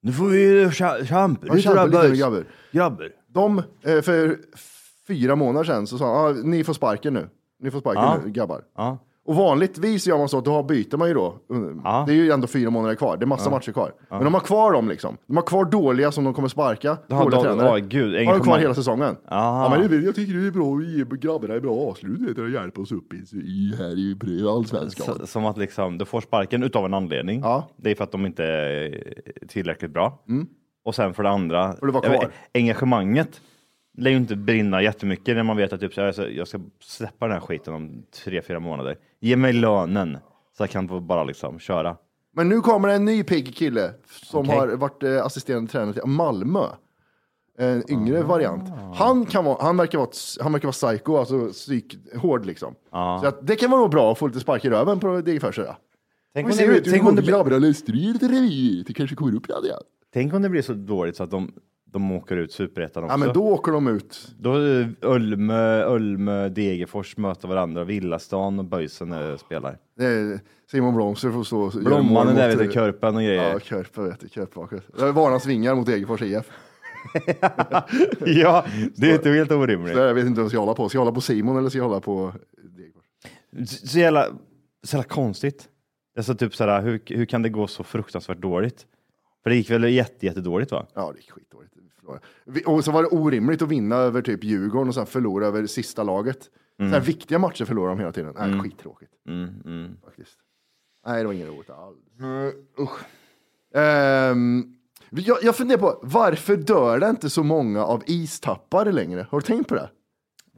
nu får vi cha- champ! Ja, Ut kämpa lite grabbar! nu, grabbar. Grabbar! De, eh, för fyra månader sedan, så sa han, ah, ni får sparken nu. Ni får sparken Ja. nu, grabbar. Ja. Och vanligtvis gör man så att då byter man ju då. Mm. Ja. Det är ju ändå fyra månader kvar. Det är massa matcher kvar. Men de har kvar dem liksom. De har kvar dåliga som de kommer sparka. Ja, dåliga de- tränare. åh, gud, har de kvar engagemang. hela säsongen. Aha. Ja, men det, är- jag tycker det är bra. Vi är- Grabbarna är bra avslut. Det är att hjälpa oss upp i, i här i pre- allsvenskan. Så, som att liksom, du får sparken utav en anledning. Ja. Det är för att de inte är tillräckligt bra. Och sen för det andra, Får du vara jag vet, kvar. engagemanget lär ju inte brinna jättemycket när man vet att typ, så här, så jag ska släppa den här skiten om tre, fyra månader. Ge mig lönen så jag kan få bara liksom köra. Men nu kommer det en ny pigg kille som Okej. har varit eh, assisterande tränare till Malmö. En yngre Ah. variant. Han, kan vara, han, verkar vara, ett- han verkar vara psycho, alltså psyk, hård liksom. Så att det kan vara bra att få lite spark i röven på Degerfors. idag. Ah. Tänk Vi om, det ser blir, ut, hur tänk, om många det blir, grabbar har löst det i ett revir. Det kanske kommer upp i det. tänk om det blir så dåligt så att de, de åker ut superettan också. Ja, men då åker de ut. Då är det Ölme, Ölme, Degerfors möter varandra, Villastan och Böjsen eh, spelar. Eh, Simon Blomster får stå och göra mål Blomman är där mot- eh, vid Körpen och grejer. Ja, Körpe vet du, Körpe bakåt. Jag varnas vingar mot Degerfors IF. <laughs> ja, det är inte helt orimligt. Så jag vet inte vad jag ska hålla på. Ska jag hålla på Simon eller ska jag hålla på Degerfors? Så så jävla, så jävla konstigt. Alltså typ såhär, hur, hur kan det gå så fruktansvärt dåligt? För det gick väl jätte, jättedåligt va? Ja, det gick skitdåligt. Vi förlorade. Vi- Och så var det orimligt att vinna över typ Djurgården och sen förlora över sista laget. Mm. Så här viktiga matcher förlorar de hela tiden. Nej, skittråkigt. Faktiskt. Nej, det var inget roligt alls. Usch. Ehm, vi- jag, jag funderar på, varför dör det inte så många av istappare längre? Har du tänkt på det?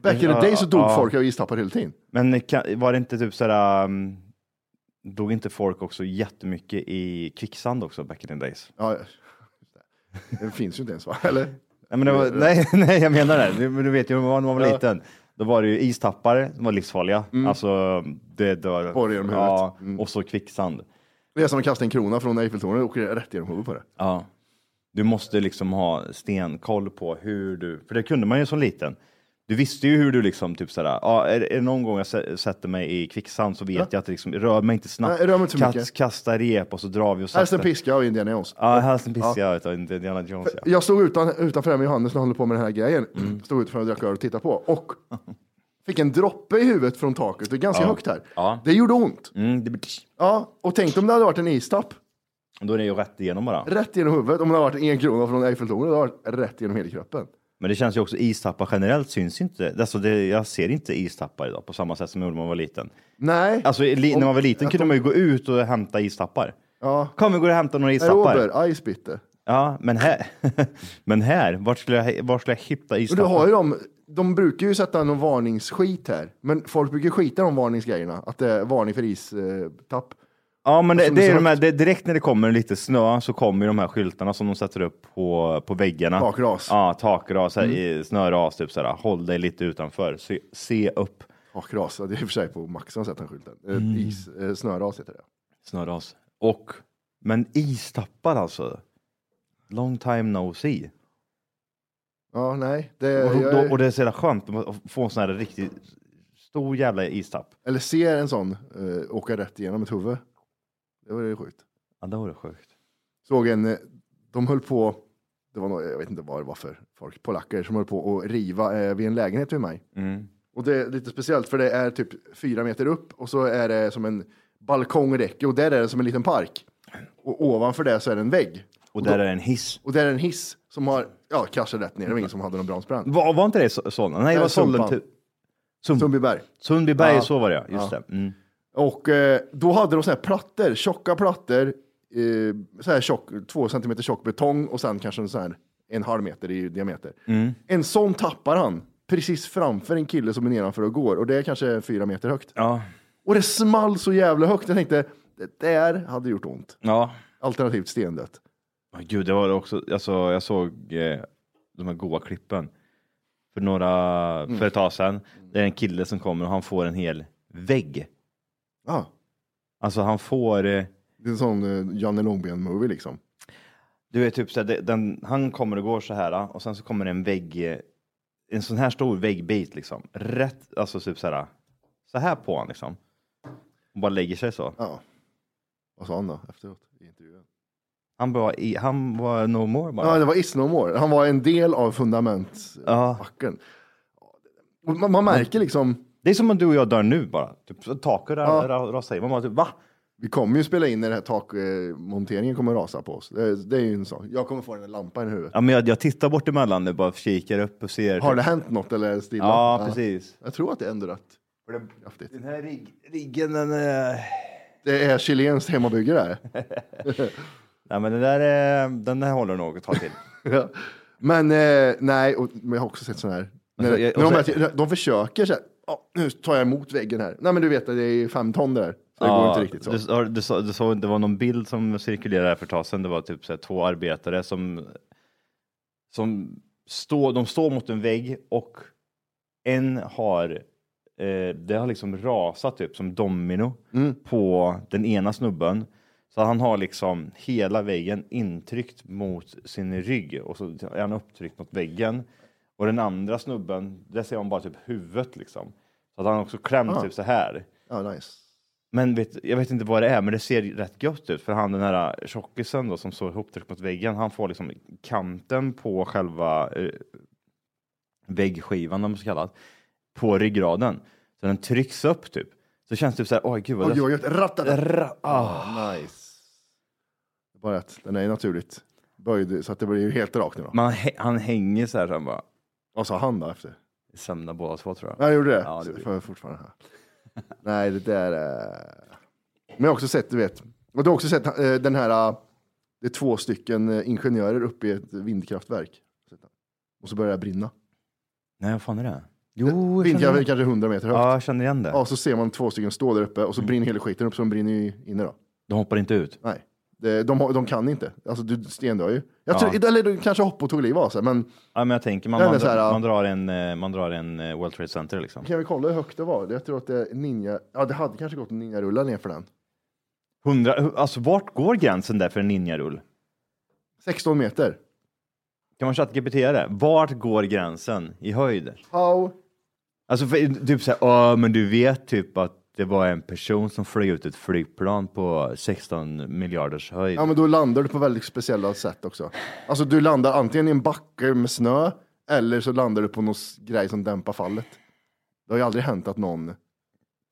Back in the Ja, day så dog ja. folk av istappar hela tiden. Men kan, var det inte typ såhär, um, dog inte folk också jättemycket i kvicksand också back in the days? Ja, det finns ju inte ens va? Eller? Nej, men det var, nej, <laughs> nej jag menar det. Du, men du vet ju, när man var Ja. liten, då var det ju istappare som var livsfarliga. Alltså, det dör. Borr genom huvudet. Mm. ja, Och så kvicksand. Det är som att kasta en krona från Eiffeltornet och åker rätt genom huvudet på det. Ja. Du måste liksom ha stenkoll på hur du, för det kunde man ju som liten. Du visste ju hur du liksom, typ sådär, ja, är, är det någon gång jag sä- sätter mig i kvicksand så vet jag att det liksom, rör mig inte snabbt. Nej, rör mig inte så Kast- mycket. Kasta rep och så drar vi och Här är en sakta. piska av Indiana Jones. Ja, hälsen pissar jag utav Indiana Jones. Ja. Mm. Jag stod utan, utanför här med Johannes när han höll på med den här grejen. Stod utanför och drack öl och tittade på. Och fick en droppe i huvudet från taket. Det är ganska högt här. Ja. Det gjorde ont. Mm, det, blir- Ja, och tänk om det hade varit en istapp. då är det ju rätt igenom bara. Rätt genom huvudet. Om det hade varit en krona från Eiffeltornet. Det hade varit rätt genom hela kroppen. Men det känns ju också, istappar generellt syns inte. Alltså det, jag ser inte istappar idag på samma sätt som jag gjorde när man var liten. Nej. Alltså li, när man var liten Att kunde de- man ju gå ut och hämta istappar. Ja. Kom vi går och hämtar några istappar. Robert, ice bitte. Ja, men här, <laughs> men här vart, skulle jag, vart skulle jag hitta Men du istappar? har ju dem, de brukar ju sätta någon varningsskit här, men folk brukar skita i de varningsgrejerna, att det är varning för istapp. Ja, men det, Som det du är sa- de här, det, direkt när det kommer lite snö så kommer ju de här skyltarna som de sätter upp på, på väggarna. Takras. Mm. Ja, takras, här, i snöras, typ sådär. Håll dig lite utanför, se, se upp. Ja, kras, det är i och för sig på Max som har sett den skylten. Mm. Is, eh, snöras heter det. Snöras. Och, men istappar alltså. Long time no see. Ja, nej. Det, Och, Eh, jag, då, och det är så jävla skönt att få en sån här riktigt stor jävla istapp. Eller ser en sån eh, åka rätt igenom ett huvud. Det var ju sjukt. Ja, det var det sjukt. Såg en, eh, de höll på, det var nog, jag vet inte vad det var för folk, polacker som höll på att riva eh, vid en lägenhet vid mig. Mm. Och det är lite speciellt för det är typ fyra meter upp och så är det som en balkongräcke och där är det som en liten park. Och ovanför det så är det en vägg. Och där är en hiss. Och där är en hiss som har, ja, kraschat rätt ner. Det var ingen som hade någon bromsbrand. Var, var inte det så- Solna? Nej, det Nej, var Sumpan. Sollentuna. Sum, Sundbyberg. Sundbyberg, Ja. så var det ja. Just det. Mm. Och eh, då hade de så här plattor, tjocka plattor, eh, så här tjock, två centimeter tjock betong och sen kanske en så här en halv meter i diameter. En sån tappar han precis framför en kille som är nedanför och går och det är kanske fyra meter högt. Ja. Och det small så jävla högt. Jag tänkte, det där hade gjort ont. Ja. Alternativt stendött. Oh, gud, det var det också. Alltså, jag såg eh, de här goa klippen för några, Mm. för ett tag sedan. Det är en kille som kommer och han får en hel vägg. Ah, Alltså han får, eh, det är en sån eh, Janne Långben-movie liksom. du vet typ så här, det- den, han kommer och går så här och sen så kommer en vägg, eh, en sån här stor väggbit liksom. Rätt, alltså typ så här, så här på han liksom. Och bara lägger sig så. Ja. Vad sa han då efteråt i intervjun? Han bara, i, han var no more bara. Ja, det var Is No More. Han var en del av eh, fundamentsbacken. Ja. Och Man, man märker liksom, Det är som om du och jag dör nu bara. Typ, taket Ja. ra- ra- rasar in. Man bara typ, va? vi kommer ju spela in när den här takmonteringen kommer rasa på oss. Det, det är ju en sak. Jag kommer få den där lampan i huvudet. Ja, men jag, jag tittar bort emellan nu, bara kikar upp och ser. Har det hänt något eller är det stilla? Ja, precis. Jag tror att det är ändå rätt kraftigt. Den här rig, riggen, den är... Det är chilenskt hemmabygge det här. Nej, men den där, är- den där håller nog ett tag <laughs> till. <laughs> Ja. Men eh, nej, och, men jag har också sett sådana här. När, Alltså, jag- när de, och så- verkligen- de försöker så här, "Ja, nu tar jag emot väggen här. Nej men du vet att det är fem ton det där. Så det går inte riktigt så. Du, har- du, så, du såg- det var någon bild som cirkulerade här för ett tag sedan. Det var typ så här, två arbetare som, som står, de står mot en vägg och en har, eh, det har liksom rasat typ som domino Mm. på den ena snubben. Så han har liksom hela väggen intryckt mot sin rygg och så är han upptryckt mot väggen. Och den andra snubben, där ser man bara typ huvudet liksom. Så att han också klämt Ah. typ så här. Ja, nice. Men vet, jag vet inte vad det är, men det ser rätt gött ut. För han den här äh, tjockisen då som står ihoptryckt mot väggen, han får liksom kanten på själva eh, väggskivan, om man ska kalla det, på ryggraden. Så den trycks upp typ. Så känns det typ så här, oj gud vad Oj, det oj, oj. ratata. Ra- ah. Nice. Bara att den är naturligt böjd så att det blir ju helt rakt nu då. Man, hä- han hänger så här, så han bara, Vad sa han då efter? sömnar båda två tror jag. Ja, jag gjorde det. Ja, det det jag fortfarande här. <laughs> Nej, det där är... Men jag har också sett, du vet. Och du har också sett eh, den här... eh, Det är två stycken eh, ingenjörer uppe i ett vindkraftverk. Och så börjar det brinna. Nej, vad fan är det? Jo, Oh, jag känner, Vindkraftverk kanske 100 meter högt. ja, Mm. Ja. jag känner igen det. så ser man två stycken stå där uppe och så brinner hela skiten upp så de brinner ju inne då. De hoppar inte ut. Nej, det, de, har- de kan inte. Alltså du stendör ju. Jag tror, Ja. Eller du kanske hopp och tog liv av sig, men Ja, men jag tänker, man, Nej, man, men så här, ja. drar, man drar en, eh, man drar en eh, World Trade Center liksom. kan vi kolla hur högt det var? Jag tror att det är ninja, ja det hade kanske gått en ninjarulla ner för den. 100, alltså vart går gränsen där för en ninjarull? 16 meter. Kan man ChatGPT det? Vart går gränsen i höjd? How Alltså för, typ såhär, åh men du vet typ att det var en person som flög ut ett flygplan på 16 miljarders höjd. Ja, men då landar du på väldigt speciella sätt också. Alltså, du landar antingen i en backe med snö eller så landar du på någon s- grej som dämpar fallet. Det har ju aldrig hänt att någon...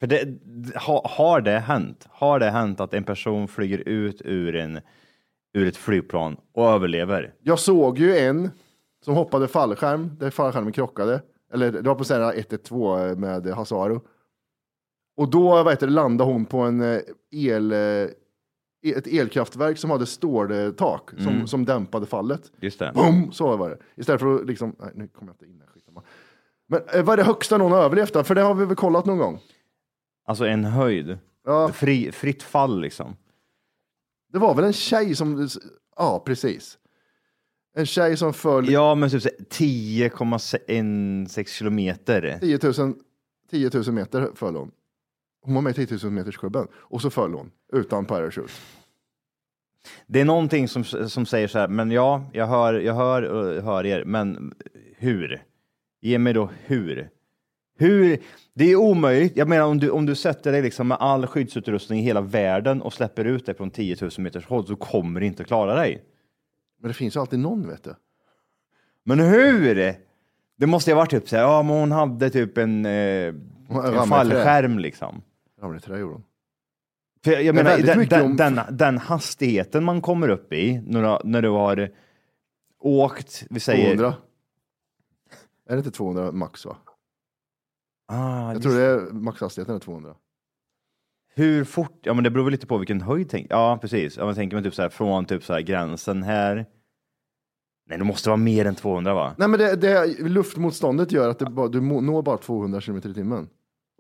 För det, ha, har det hänt? Har det hänt att en person flyger ut ur, en, ur ett flygplan och överlever? Jag såg ju en som hoppade fallskärm, där fallskärmen krockade. Eller det var på sådana 112 med Hasaru. Och då vad heter det, landade hon på en eh, el, eh, ett elkraftverk som hade ståltak som, som dämpade fallet. Just det. Boom! Så var det. Istället för att liksom, nej, nu kommer jag inte in här, skitsamma. Men eh, vad är det högsta någon har överlevt då? För det har vi väl kollat någon gång? Alltså en höjd. Ja. Fri, fritt fall liksom. Det var väl en tjej som, ja precis. En tjej som föll Ja, men typ så här 10,16 kilometer. 10 000, 10 000 meter föll hon. Hon var med i 10 000 meters och så föll hon utan parachute. Det är någonting som, som säger så här, men ja, jag hör, jag hör och hör er, men hur? Ge mig då hur? Hur? Det är omöjligt. Jag menar om du, om du sätter dig liksom med all skyddsutrustning i hela världen och släpper ut dig från 10 000 meters håll så kommer du inte klara dig. Men det finns ju alltid någon vet du. Men hur? Det måste ju ha varit typ så här, ja men hon hade typ en, eh, ramlade i en fallskärm liksom. Ramlade i trä gjorde hon. För jag Men menar, väldigt den, mycket den, om- den, den hastigheten man kommer upp i när du, när du har åkt, vi säger... 200. Är det inte 200 max va? Ah, Jag tror det är maxhastigheten är 200. Hur fort? Ja, men det beror väl lite på vilken höjd. Tänk, ja, precis. Ja, man tänker man typ så här från typ så här gränsen här. Nej, det måste vara mer än 200 va? Nej men det, det, luftmotståndet gör att det, bara- du må- når bara 200 km i timmen.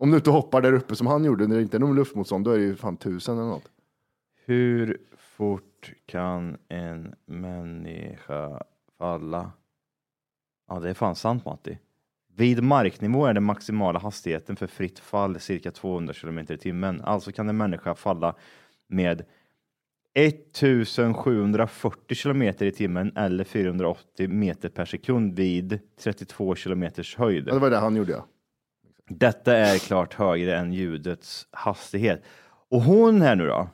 Om du inte hoppar där uppe som han gjorde när det inte är någon luftmotstånd, då är det ju fan 1000 eller något. Hur fort kan en människa falla? Ja, det är fan sant Matti. Vid marknivå är den maximala hastigheten för fritt fall cirka 200 km i timmen. Alltså kan en människa falla med 1740 km i timmen eller 480 meter per sekund vid 32 km höjd. Ja, det var det han gjorde ja. Detta är klart högre än ljudets hastighet. Och hon här nu då?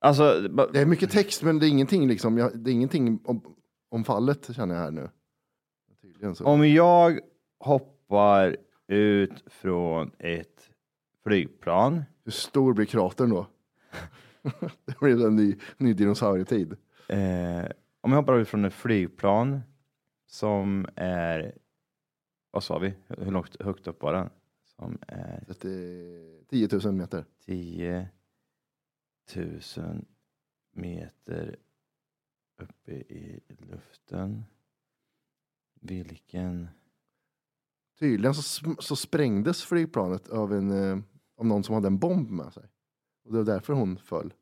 Alltså, ba- Det är mycket text men det är ingenting liksom, jag, det är ingenting om, om fallet känner jag här nu. Tydligen så. om jag hoppar ut från ett flygplan. Hur stor blir kratern då? <laughs> det blir en ny, ny dinosaurietid. Eh, om jag hoppar ut från ett flygplan som är, vad sa vi, hur långt, högt upp var den? Som är Det är 10 000 meter. 10 000 meter uppe i luften. Vilken Tydligen så, sm- så sprängdes flygplanet av, en, eh, av någon som hade en bomb med sig. Och det var därför hon föll.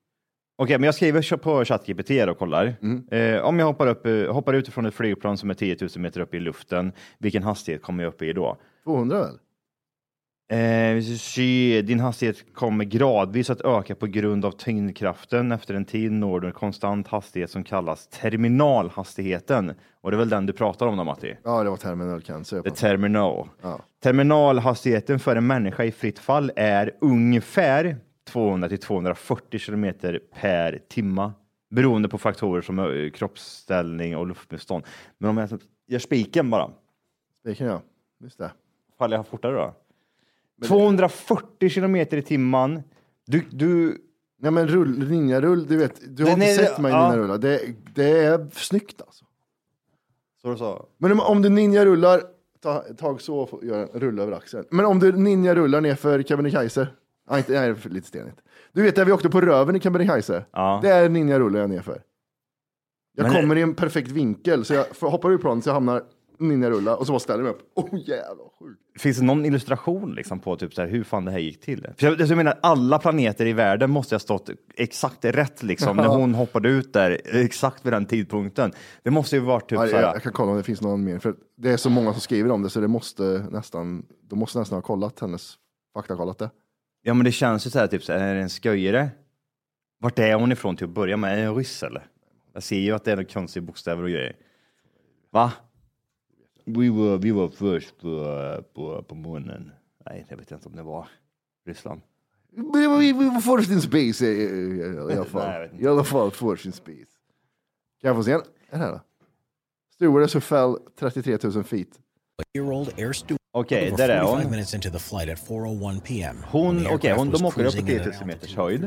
Okej, men jag skriver på ChatGPT här och kollar. Mm. Eh, om jag hoppar, upp, eh, hoppar ut från ett flygplan som är 10 000 meter upp i luften, vilken hastighet kommer jag upp i då? 200 väl? Eh, vi ska se, din hastighet kommer gradvis att öka på grund av tyngdkraften. Efter en tid når du en konstant hastighet som kallas terminalhastigheten. Och det är väl den du pratar om då, Matti? Ja, det var terminal cancer. jag The fattar. terminal. Ja. Terminalhastigheten för en människa i fritt fall är ungefär 200 till 240 kilometer per timma beroende på faktorer som eh, kroppsställning och luftmotstånd. Men om jag gör spiken bara, Det kan jag. Just det. faller jag fortare då? 240 kilometer i timmen. Du, du, Nej men rull, ninjarull, du vet, du har Den inte är- sett mig ja. ninjarulla. Det, det är snyggt alltså. så du sa? Men om, om du ninjarullar, ta, tag så och få- gör en rulla över axeln. Men om du ninjarullar ner för Kebnekaise. Nej, inte, nej, det är för- lite stenigt. Du vet där vi åkte på röven i Kebnekaise. Ja. Det är ninjarullar jag ner för. Jag Men- kommer i en perfekt vinkel, så jag f- hoppar ur planet så jag hamnar ninjarulla och så bara ställer jag mig upp. Oh jävlar, sjukt. Finns det någon illustration liksom på typ så här, hur fan det här gick till? För jag, jag menar, alla planeter i världen måste ha stått exakt rätt liksom, när hon hoppade ut där, exakt vid den tidpunkten. Det måste ju varit typ Ja, så jag, här, jag kan kolla om det finns någon mer, för det är så många som skriver om det så det måste nästan, de måste nästan ha kollat hennes, faktakollat det. ja men det känns ju så här, typ så här, är det en sköjare? Vart är hon ifrån till att börja med? Är det en ryss eller? Jag ser ju att det är några konstiga bokstäver och grejer. Va? Vi var, vi var först på, på, på månen. Nej, jag vet inte om det var Ryssland. Vi, vi, vi var först in space i, i, i, alla <laughs> Nej, jag fall. vet inte. I alla fall först in space. Kan jag få se en? en här då? Stewardess who fell 33 000 feet. year old air steward. Okej, Okej, där är hon. minutes into the flight at 4.01 p.m. Hon- okej, hon- de åker upp på 3000 meters höjd.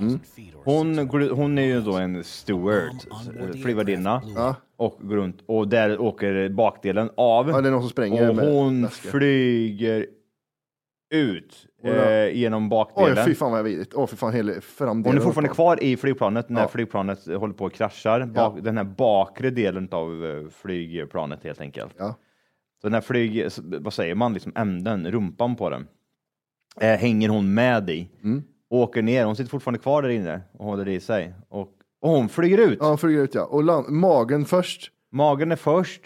Mm. Hon, går- hon är ju då en steward, eh, flygvärdinna, och går runt och där åker bakdelen av. Ja, det är någon som spränger och med hon väska. flyger ut eh, genom Oj, bakdelen. fy fan vad vidrigt. Åh, fy fan, hela framdelen. Hon är fortfarande uppåt. kvar i flygplanet när Ja. flygplanet håller på att kraschar. Bak, Den här bakre delen av eh, flygplanet helt enkelt. Ja. Så den här flyg, vad säger man, liksom änden, rumpan på den, eh, hänger hon med i. Mm. Åker ner, hon sitter fortfarande kvar där inne och håller i sig. Och, och hon flyger ut. Ja, hon flyger ut ja. Och land, magen först. Magen är först.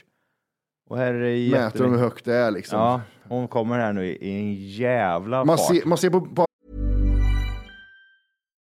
Och här är det Mäter de hur jättelänge. högt det är liksom. Ja, hon kommer här nu i i en jävla Man fart. ser, man ser på, på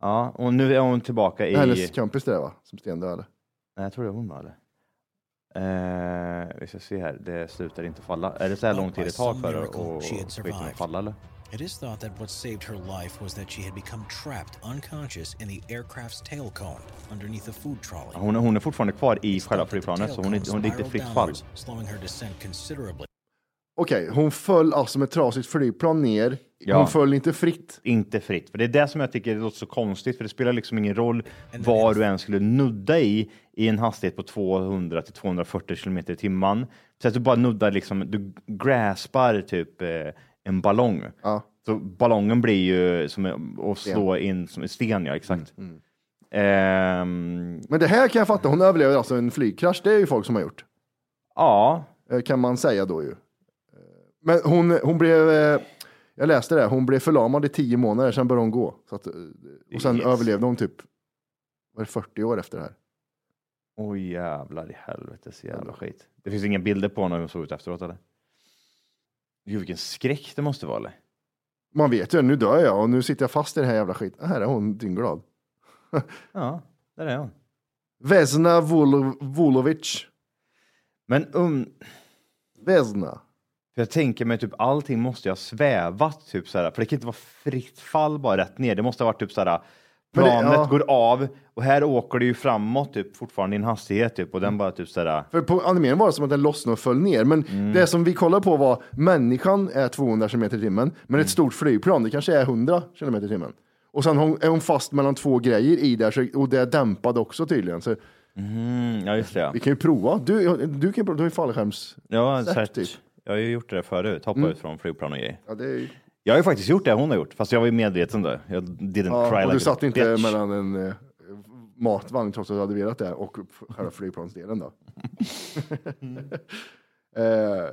Ja, och nu är hon tillbaka i... Hennes kompis där va, som stendöd. Nej, jag tror det är hon va, eller? Eh, vi ska se här, det slutar inte falla. Är det så här lång tid det tar för att och skiten att falla eller? It is thought that what saved her life was that she had become trapped unconscious in the aircraft's tail cone underneath a food trolley. Hon, hon är fortfarande kvar i It's thought själva that the flygplanet tail så hon cone är, hon är inte spiraled fritt fall. downwards, Slowing her descent considerably. Okej, hon föll alltså med trasigt flygplan ner. Ja. Hon föll inte fritt. Inte fritt. För det är det som jag tycker låter så konstigt för det spelar liksom ingen roll vad du än skulle nudda i i en hastighet på 200 till 240 kilometer i timmen. Så att du bara nuddar liksom, du graspar typ eh, en ballong. Ja. Så ballongen blir ju som en- att slå in som en sten, ja exakt. Ehm, Men det här kan jag fatta, hon överlever alltså en flygkrasch. Det är ju folk som har gjort. ja, Eh, Kan man säga då ju. Eh, Men hon, hon blev, eh, jag läste det, hon blev förlamad i tio månader, sen började hon gå. Så att, eh, och sen Yes. överlevde hon typ, var det 40 år efter det här? Oj jävlar i helvete, så jävla skit. Det finns inga bilder på honom hur hon såg ut efteråt eller? Gud vilken skräck det måste vara eller? Man vet ju, nu dör jag och nu sitter jag fast i den här jävla skiten. Här är hon dyngglad. Ja, där är hon. Vesna Volo- Vulovic. Men um, Vesna. för jag tänker mig typ allting måste ju ha svävat typ så här, för det kan inte vara fritt fall bara rätt ner. Det måste ha varit typ så här, Men det- planet ja. går av och här åker det ju framåt typ fortfarande i en hastighet typ Mm. och den bara typ så här. För på animeringen var det som att den lossnade och föll ner. Men Mm. det som vi kollade på var människan är 200 km i timmen, men Mm. ett stort flygplan, det kanske är 100 km i timmen. Och sen hon, är hon fast mellan två grejer i där, så, och det är dämpad också tydligen. Så Mm, ja just det ja. vi kan ju prova. Du, du kan ju prova, du har ju fallskärms... Ja, så här, Säkert, typ. Mm. jag har ju gjort det där förut, hoppa ut från flygplan och grejer. Ja, det är ju... Jag har ju faktiskt gjort det hon har gjort, fast jag var ju medveten då. Jag didn't ja, cry och like du a satt inte bitch. mellan en eh, matvagn trots att du hade velat det och själva flygplansdelen då. Mm. <laughs> eh,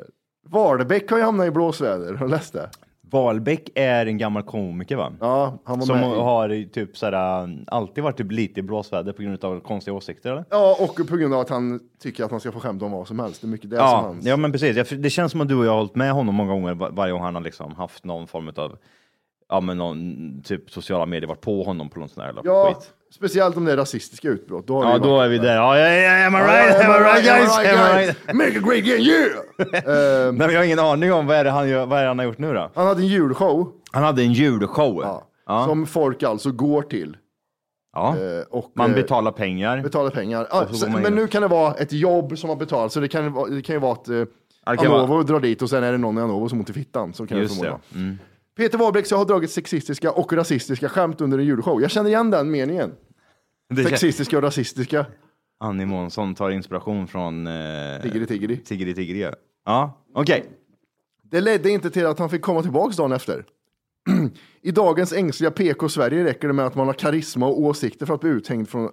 Wahlbeck har ju hamnat i blåsväder, har du läst det? Wahlbeck är en gammal komiker va? Ja, han var Som med i- har i typ såhär, alltid varit typ lite i blåsväder på grund av konstiga åsikter eller? Ja, och på grund av att han tycker att man ska få skämta om vad som helst. Det är mycket det som Ja, hans... ja men precis. Jag- Det känns som att du och jag har hållit med honom många gånger var- varje gång han har liksom haft någon form av, ja men någon typ sociala medier varit på honom på någon sån här jävla Ja, skit. speciellt om det är rasistiska utbrott. Då har Ja vi varit- då är vi där. Ja, ja, ja, am I Ja, right? Am I right guys? am I Am I right, right? <laughs> guys? Make a great game, yeah! Eh, Nej men jag har ingen aning om vad är det han, gör, vad är det han har gjort nu då? han hade en julshow Han hade en julshow. ja, Ja. som folk alltså går till. Ja. eh, Och Man eh, betalar pengar. betalar pengar. Ja, Och så går så- man in. men nu kan det vara ett jobb som har betalat, så det kan, ju vara- det kan ju vara att eh, det kan vara- Anovo drar dit och sen är det någon i Anovo som har ont i fittan. Så kan det Just förmodligen det. vara. Mm. Peter Wahlbeck så har dragit sexistiska och rasistiska skämt under en julshow. Jag känner igen den meningen. Det kän- Sexistiska och rasistiska. Annie Månsson tar inspiration från eh, Tiggeri tiggeri. Tiggeri Tiggeri. ja. Ja, okej. Det ledde inte till att han fick komma tillbaks dagen efter. <clears throat> I dagens ängsliga PK-Sverige räcker det med att man har karisma och åsikter för att bli uthängd från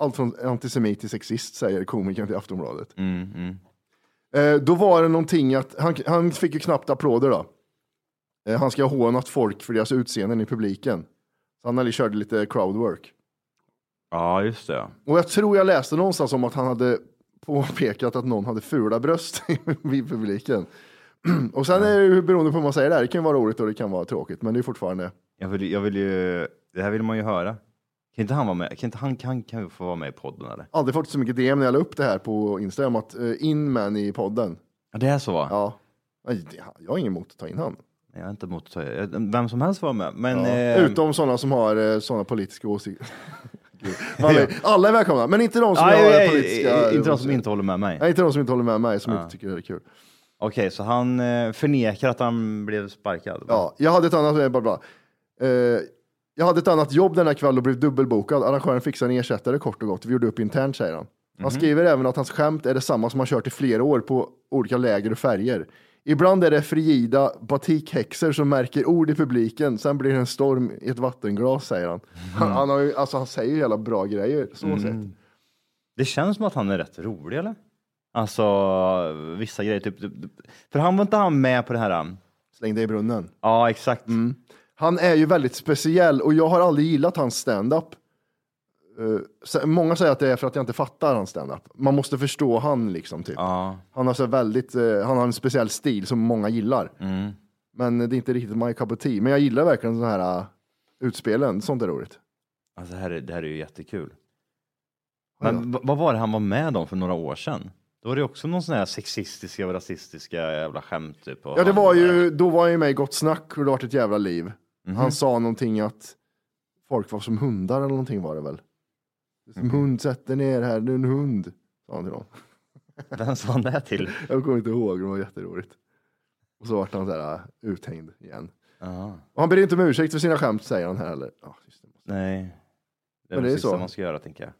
Allt från antisemit till sexist, säger komikern till Aftonbladet. Mm, mm. Eh, då var det någonting att, han, han fick ju knappt applåder då. Eh, han ska ha hånat folk för deras utseenden i publiken. Så han hade- körde lite crowdwork. Ja, just det. Och jag tror jag läste någonstans om att han hade påpekat att någon hade fula bröst <laughs> i publiken. och sen är det ju beroende på hur man säger det här, det kan ju vara roligt och det kan vara tråkigt, men det är fortfarande. Jag vill, jag vill ju, det här vill man ju höra. Kan inte han vara med? Kan inte han, kan, kan vi få vara med i podden eller? Aldrig fått så mycket DM när jag la upp det här på Instagram, att eh, in med han i podden. Ja, det är så va? Ja. Nej, det- Jag har inget emot att ta in han. Jag är inte emot att ta- jag- Vem som helst får vara med. Men, Ja. eh, Utom sådana som har eh, sådana politiska åsikter. <laughs> Gud. Man vet- Alla är välkomna, men inte de som nej, har nej, politiska... Inte de som inte håller med mig. Nej, inte de som inte håller med mig, som Ja. inte tycker det är kul. Okej, så han eh, förnekar att han blev sparkad? va? Ja, jag hade ett annat, eh, bara, bara. Eh, jag hade ett annat jobb den här kvällen och blev dubbelbokad. Arrangören fixade en ersättare kort och gott. Vi gjorde upp internt, säger han. Han skriver även att hans skämt är detsamma som han kört i flera år på olika läger och färger. Ibland är det frigida batikhäxor som märker ord i publiken. Sen blir det en storm i ett vattenglas, säger han. Han, han, har ju, alltså, han säger ju jävla bra grejer, så Mm. sett. Det känns som att han är rätt rolig eller? Alltså vissa grejer, typ, typ- typ- för han var inte han med på det här? um, Släng dig i brunnen. Mm. Ja, exakt. Han är ju väldigt speciell och jag har aldrig gillat hans stand-up. Eh, så- många säger att det är för att jag inte fattar hans stand-up. Man måste förstå han liksom. Typ. Ja. Han, har så väldigt, eh, han har en speciell stil som många gillar. Mm. Men det är inte riktigt my cup of tea. Men jag gillar verkligen sådana här eh, utspelen. Sånt är roligt. Alltså, det, här är, det här är ju jättekul. Ja. Men v- vad var det han var med om för några år sedan? Då var det också någon sån här sexistiska och rasistiska jävla skämt. Typ, och Ja, det han- var ju, då var jag ju med i Gott Snack och det vart ett jävla liv. Mhm. Han sa någonting att folk var som hundar eller någonting var det väl. Som Mhm. hund, sätt dig ner här, du är en hund. Sa han till någon. <laughs> Vem sa han det till? Jag kommer inte ihåg, det var jätteroligt. Och så vart han så här äh, uthängd igen. Ja, Och han ber inte om ursäkt för sina skämt, säger han här eller? Ja, just det. nej. Det är Men det, det är sista så. man ska göra tänker jag.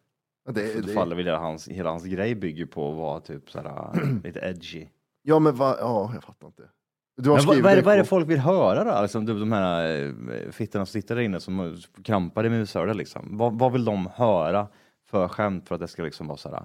Ja, det, Det, det, faller väl hela hans, hela hans grej bygger på att vara typ så här, <clears throat> äh, lite edgy. ja men va, ja, jag fattar inte. Du har Men vad, skrivit vad, är det, vad är det på- folk vill höra då? Liksom, du, de här eh, fittorna som sitter där inne som eh, krampar i mushöra liksom. Vad, vad vill de höra för skämt för att det ska liksom vara så här?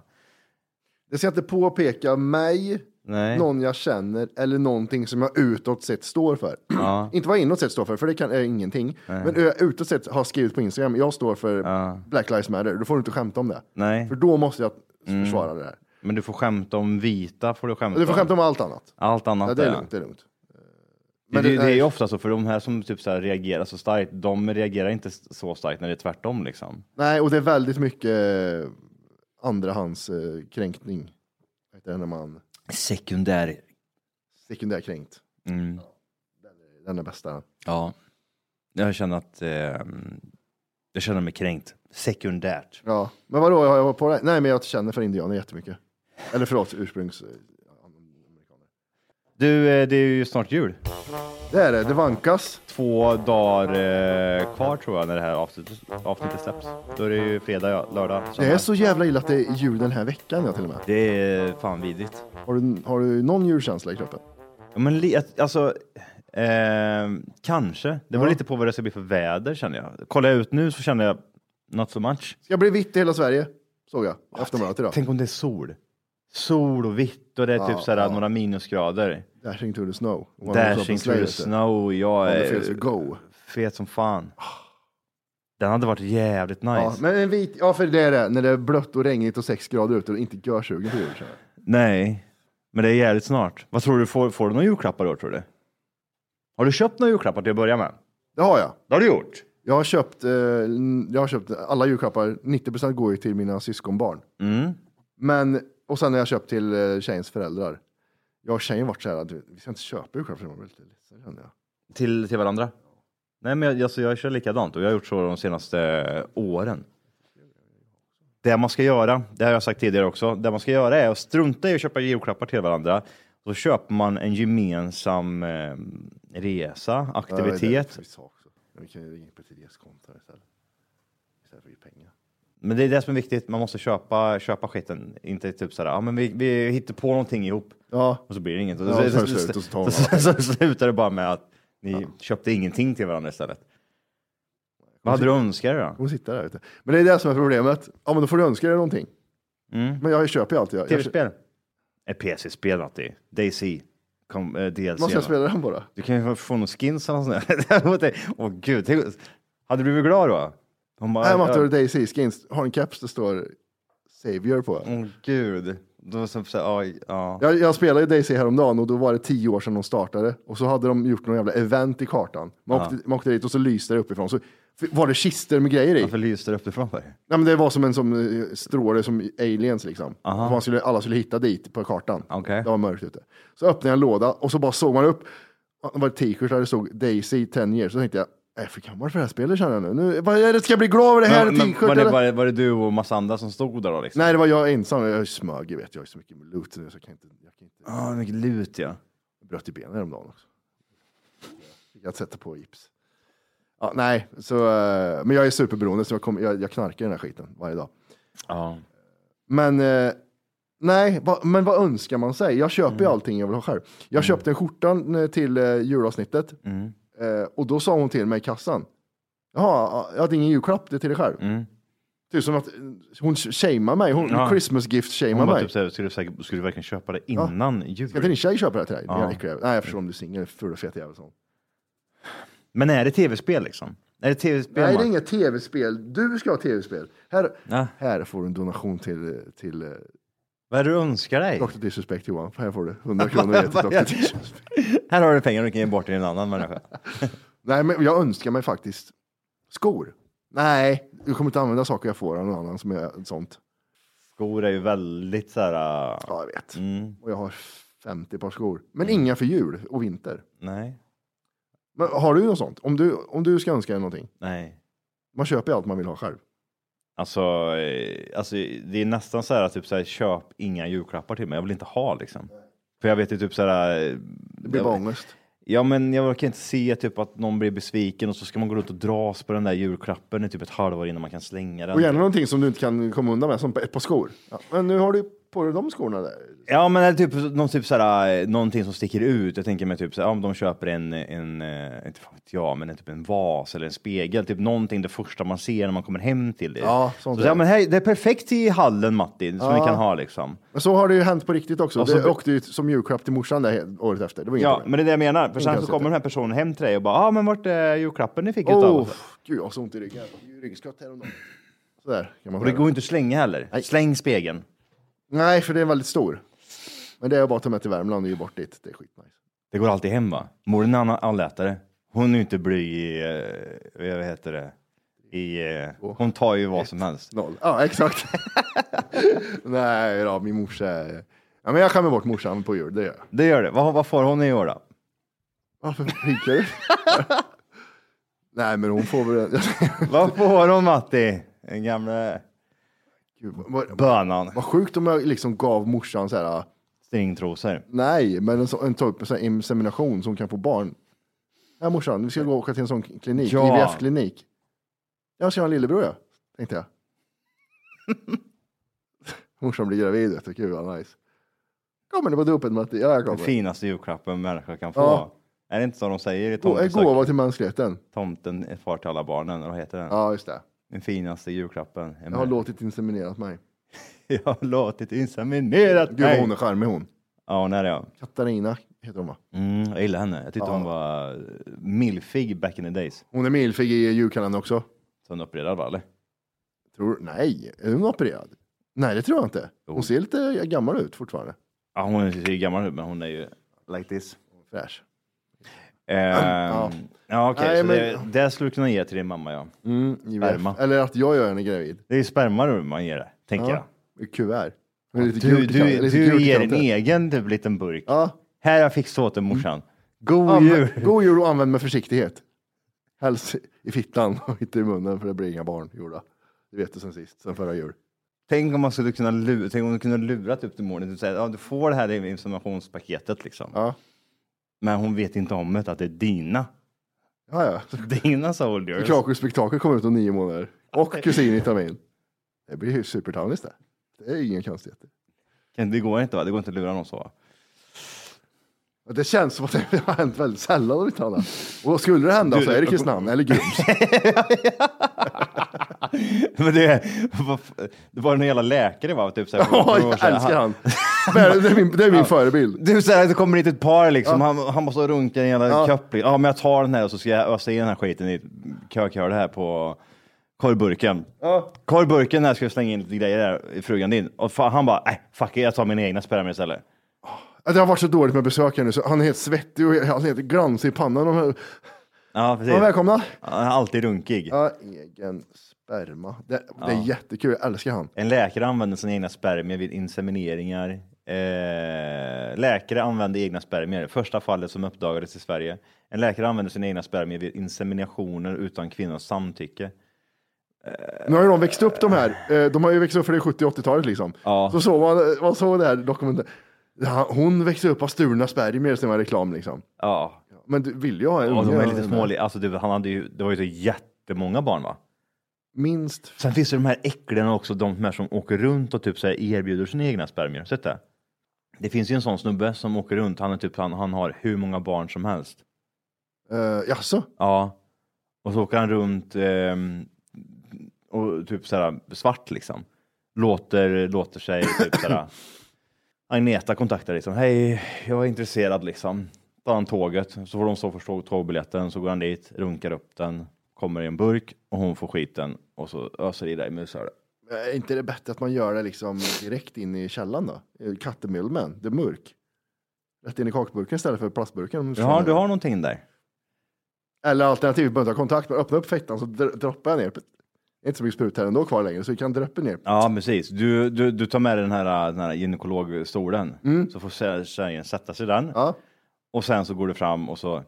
Det ska inte påpeka mig, Nej. någon jag känner eller någonting som jag utåt sett står för. <clears throat> Ja. inte vad jag inåt sett står för, för det kan, är ingenting. Nej. Men ö, utåt sett har skrivit på Instagram, jag står för Ja. Black Lives Matter, då får du inte skämta om det. Nej. Mm. För då måste jag försvara det här. Men du får skämta om vita, får du skämta Du får skämta om allt annat. Allt annat Ja, det är Mm. ja. lugnt, det är lugnt. Det, Men det, det- det är ju nej. ofta så, för de här som typ så här reagerar så starkt, de reagerar inte så starkt när det är tvärtom liksom. Nej, och det är väldigt mycket eh, andrahandskränkning. Vad heter det när man Sekundär. sekundärkränkt? Mm. Den är bästa. Ja. Jag känner att, eh, jag känner mig kränkt. Sekundärt. Ja, men vadå, har jag varit på det? Nej, men jag känner för indianer jättemycket. Eller förlåt, ursprungs... Du, eh, det är ju snart jul. Det är det, det vankas. Två dagar eh, kvar tror jag när det här avsnittet, avsnittet släpps. Då är det ju fredag, ja, lördag, Det söndag. är så jävla illa att det är jul den här veckan, jag till och med. Det är fan vidrigt. Har du, har du någon julkänsla i kroppen? Ja, men li- att- alltså, eh, kanske. Det beror Ja. lite på vad det ska bli för väder känner jag. Kollar jag ut nu så känner jag not so much. Ska bli vitt i hela Sverige, såg jag. i Aftonbladet idag. Tänk om det är sol. Sol och vitt och det är Ja, typ sådär ja. några minusgrader. Dashing to the snow. One Dashing drop of through the slayer. snow. On Jag the fields är we go. Ah. fet som fan. Den hade varit jävligt nice. Ja, men en vit, ja, för det är det, när det är blött och regnigt och sex grader ute och inte görsugen på jul. känner jag. Nej, men det är jävligt snart. Vad tror du, får, får du några julklappar då tror du? Har du köpt några julklappar till att börja med? Det har jag. Det har du gjort. Jag har köpt, eh, jag har köpt alla julklappar, 90% går ju till mina syskonbarn. Mm. Men, och sen har jag köpt till eh, tjejens föräldrar. Jag och tjejen vart så här, du, vi ska inte köpa julklappar för de var lite ledsna kände jag. Till, till varandra? Nej, men jag, alltså, jag kör likadant och jag har gjort så de senaste eh, åren. Det man ska göra, det har jag sagt tidigare också, det man ska göra är att strunta i att köpa julklappar till varandra. Så köper man en gemensam eh, resa, Ja, det är aktivitet. därför Vi, sa också. Men vi kan ju ringa på Therese konto här istället. Istället för att ge pengar. Men det är det som är viktigt, man måste köpa, köpa skiten. Inte typ sådär, ja men vi, vi hittar på någonting ihop. Ja, Och så blir det inget. Och Ja, så, så så, är det så, slut och så tar man så, så, slutar det bara med att ni köpte ingenting till varandra istället. Vad hade du önskat dig då? Hon sitter där ute. Men det är det som är problemet. Ja, men då får du önska dig någonting. Mm. Men jag köper ju alltid. Jag, jag, Tv-spel? Ett PC-spel Matti. DayZ. Kom, eh, DLC. Måste jag spela den bara? Du kan ju få någon skins eller något sånt där. <laughs> Mot dig. Åh gud. tänk- Hade du blivit glad då? Hon bara, Nej, Matte "Ja." och Daisy Skins har en keps det står Savior på. Åh gud. Då var det så här, oj, ja. Jag, jag spelade ju Daisy häromdagen och då var det tio år sedan de startade och så hade de gjort någon jävla event i kartan. Man, Ja. åkte, man åkte dit och så lyste det uppifrån. Så f- var det kister med grejer i. Varför lyste det uppifrån? för dig? Nej, men det var som en som eh, stråle som i aliens liksom. Aha. Man skulle, alla skulle hitta dit på kartan. Okej. Det var mörkt ute. Så öppnade jag en låda och så bara såg man upp. Det var ett t-shirt där det stod Daisy 10 years. Så tänkte jag, jag är för gammal för det här spelet känner jag nu. nu vad är det, ska jag bli glad över det här Men- men t-shirtet? var, det, eller? var, det, var det du och massa andra som stod där då? Liksom? Nej, det var jag ensam. Jag smög, jag vet. Jag har så mycket lut nu så jag kan inte. Jag kan inte. Ah, hur mycket lut ja. Jag bröt i benen häromdagen också. Fick Jag sätta på gips. Ja, nej, så, eh, men jag är superberoende så jag, kommer- jag, jag knarkar den här skiten varje dag. Ja. Men eh, nej, va, men vad önskar man sig? Jag köper Mm. ju allting jag vill ha själv. Jag köpte en skjorta eh, till eh, julavsnittet Mm. eh, och då sa hon till mig i kassan. Jaha, jag hade ingen julklapp, det är till dig själv. Mm. Typ som att eh, hon shamear mig, hon Ja. Christmas gift shamear Hon bara mig. typ såhär, skulle, du säkert- skulle du verkligen köpa det innan jul? Ska inte din tjej köpa det här till dig? Ja. Mm. Ja. Nej, jag förstår om du är singel, ful och fet jävel. sån. Men är det tv-spel liksom? Är det tv-spel? Nej, det Mark? är inget tv-spel. Du ska ha tv-spel. Här, Ja. här får du en donation till, till eh, Vad är det du önskar dig? Dr. Disrespect Johan. Här får du <laughs> 100 kronor ge till Vad är Dr. det? Disrespect. Här har du pengar du kan ge bort till en annan människa. Nej, men jag önskar mig faktiskt skor. Nej, du kommer inte använda saker jag får av någon annan som är sånt. Skor är ju väldigt så här... äh, Ja, jag vet. Mm, Och jag har 50 par skor. Men inga för jul och vinter. nej, Men har du något sånt? Om du, om du ska önska dig någonting. nej. Man köper ju allt man vill ha själv. Alltså, eh, alltså, det är nästan så här typ så här, köp inga julklappar till mig. Jag vill inte ha liksom. För jag vet ju typ så här. eh, Det blir jag- bara ångest. Ja, men jag orkar inte se typ att någon blir besviken och så ska man gå runt och dras på den där julklappen i typ ett halvår innan man kan slänga den. Och gärna någonting som du inte kan komma undan med, som ett par skor. Ja, men nu har du på dig de skorna där. Ja, men är det typ, någon, typ såhär, eh, någonting som sticker ut. Jag tänker mig typ såhär, om de köper en, en eh, inte fan vet jag, men en, typ en vas eller en spegel. Typ någonting det första man ser när man kommer hem till det. Ja, så, sånt ja, där. men hej, det är perfekt i hallen Matti, som Ja. vi kan ha liksom. Men så har det ju hänt på riktigt också. Och så- det åkte ju som julklapp till morsan där året efter. Det var inget Ja, problem. men det är det jag menar. För Inga sen så konstigheter. kommer den här personen hem till dig och bara, ja ah, men vart är julklappen ni fick utav Åh, oss? gud jag har så ont i ryggen. Det är ju Ryggskott häromdagen. Sådär kan man Och det säga. går ju inte att slänga heller. Nej. Släng spegeln. Nej, för det är väldigt stor. Men det är bara att ta med till Värmland och ge bort dit. Det är skitnice. Det går alltid hem va? Mor är en annan allätare. Hon är ju inte blyg i, eh, vad heter det, i, eh, hon tar ju vad som helst. Noll. Ja, exakt. <laughs> Nej då, min morsa. är- Ja, men jag skämmer bort morsan på jul, det gör jag. Det gör det. Vad, vad får hon i år då? Varför pikar du? <laughs> Nej, men hon får väl... <laughs> Vad får hon Matti? Den gamla Gud, vad, bönan. vad sjukt om jag liksom gav morsan så här, Stringtrosor. nej, men en, så- en typ av så här insemination som kan få barn. Ja, morsan, vi ska gå och åka till en sån klinik, Ja. IVF-klinik. Jag ska ha en lillebror, jag, tänkte jag. <laughs> morsan blir gravid, jag tycker gud vad nice. Kommer du på dopet, Matti? Ja, jag Den kommer. finaste julklappen en människa kan få. Ja. Är det inte så de säger i Gå- En tomtesök? gåva till mänskligheten. Tomten är far till alla barnen, eller vad heter den? Ja, just det. Den finaste julklappen. Jag har låtit inseminerat mig. <laughs> jag har låtit inseminera Gud, vad hon är charmig hon. Ja, hon är det ja. Katarina heter hon, va? Mm, jag gillar henne. Jag tyckte hon var eh, milfig back in the days. Hon är milfig i julkalendern också. Så hon opererad va, eller? Tror, nej, är hon opererad? Nej, det tror jag inte. Jo. Hon ser lite gammal ut fortfarande. Ja, hon är ju gammal nu, men hon är ju like this. Fräsch. Ehm, <clears throat> ja, okej, Nej, så men- det, det skulle du kunna ge till din mamma ja. Mm, IVF. Sperma. Eller att jag gör henne gravid. Det är ju sperma då man ger det, tänker jag. Ja. I Kuvert. Med lite Du, gult i kanten- du, lite du gult i ger en kanten. egen typ, liten burk. Ja. Här jag fick så till morsan. God Använd, jul! god jul och använd med försiktighet. Helst i fittan <laughs> och inte i munnen för det blir inga barn gjorda. Det vet du sen sist, sen förra jul. Tänk om man skulle kunna lura, tänk om du kunde lura typ till morgonen. Du säger, ja, du får det här i informationspaketet liksom. Ja, Men hon vet inte om det, att det är dina. <laughs> ja. ja. Så Dina soldiers. Krakus spektakel kommer ut om nio månader. Och kusin i termin. Det blir ju supertownies det. Det är inga konstigheter. Det går inte va? Det går inte att lura någon så. va? Det känns som att det har hänt väldigt sällan om inte annat. Och skulle det hända så är det <laughs> Kristinehamn eller Grums. <laughs> Men det, <laughs> vad f- det var någon jävla läkare va? Typ, så här, <laughs> Ja, för några år jag sedan. <laughs> älskar han. Det är det är min, det är min förebild. Du säger att det kommer dit ett par liksom, Ja. han, han måste runka en jävla Ja. ja. köppling. Ja, men jag tar den här och så ska jag ösa i den här skiten i kökhörde här på korvburken. Ja. Korvburken här ska jag slänga in lite grejer där i frugan din. Och fa- han bara, nej, fuck it, jag tar mina egna spermier istället. Att Det har varit så dåligt med besökare nu så han är helt svettig och han är helt glansig i pannan. Och här. Ja, precis. Ja, välkomna. Han är alltid runkig. Ja, egen sperma. Det, det är Ja. jättekul, jag älskar han. En läkare använder sina egna spermier vid insemineringar. Eh, läkare använde egna spermier. Första fallet som uppdagades i Sverige. En läkare använde sina egna spermier vid inseminationer utan kvinnans samtycke. Nu har ju de växt upp de här. Eh, De har ju växt upp för det är 70 80-talet liksom. Ja. Så såg man, man såg det här dokumentet. Ja, Hon växte upp av stulna spermier som var reklam liksom. Ja, Men du, vill jag ha en och de unge? är lite smålig. Alltså, det, han hade ju, det var ju så jättemånga barn va? Minst Sen finns det de här äcklena också, de här som åker runt och typ så här erbjuder sina egna spermier. Sett det? Det finns ju en sån snubbe som åker runt, han, är typ, han, han har hur många barn som helst. Uh, jaså? Ja. Och så åker han runt ehm, och typ så här svart liksom. Låter, låter sig typ så <laughs> här. Agneta kontaktar liksom. Hej, jag är intresserad liksom. Tar han tåget, så får de stå för tåg- tågbiljetten, så går han dit, runkar upp den, kommer i en burk och hon får skiten och så öser i dig musar. Är inte det bättre att man gör det liksom direkt in i källan då? Eh, Kattemulmen, det är mörk. Rätt in i kakburken istället för plastburken. om du förstår Jaha, mig. du har någonting där? Eller alternativt, behöver inte ha kontakt, men öppna upp fettan så dr- droppar jag ner. Det är inte så mycket sprut här ändå kvar längre, så vi kan droppa ner. Ja, precis. Du, du, du tar med dig den här, den här gynekologstolen, så får tjejen sätta sig i den. Ja. Och sen så går du fram och så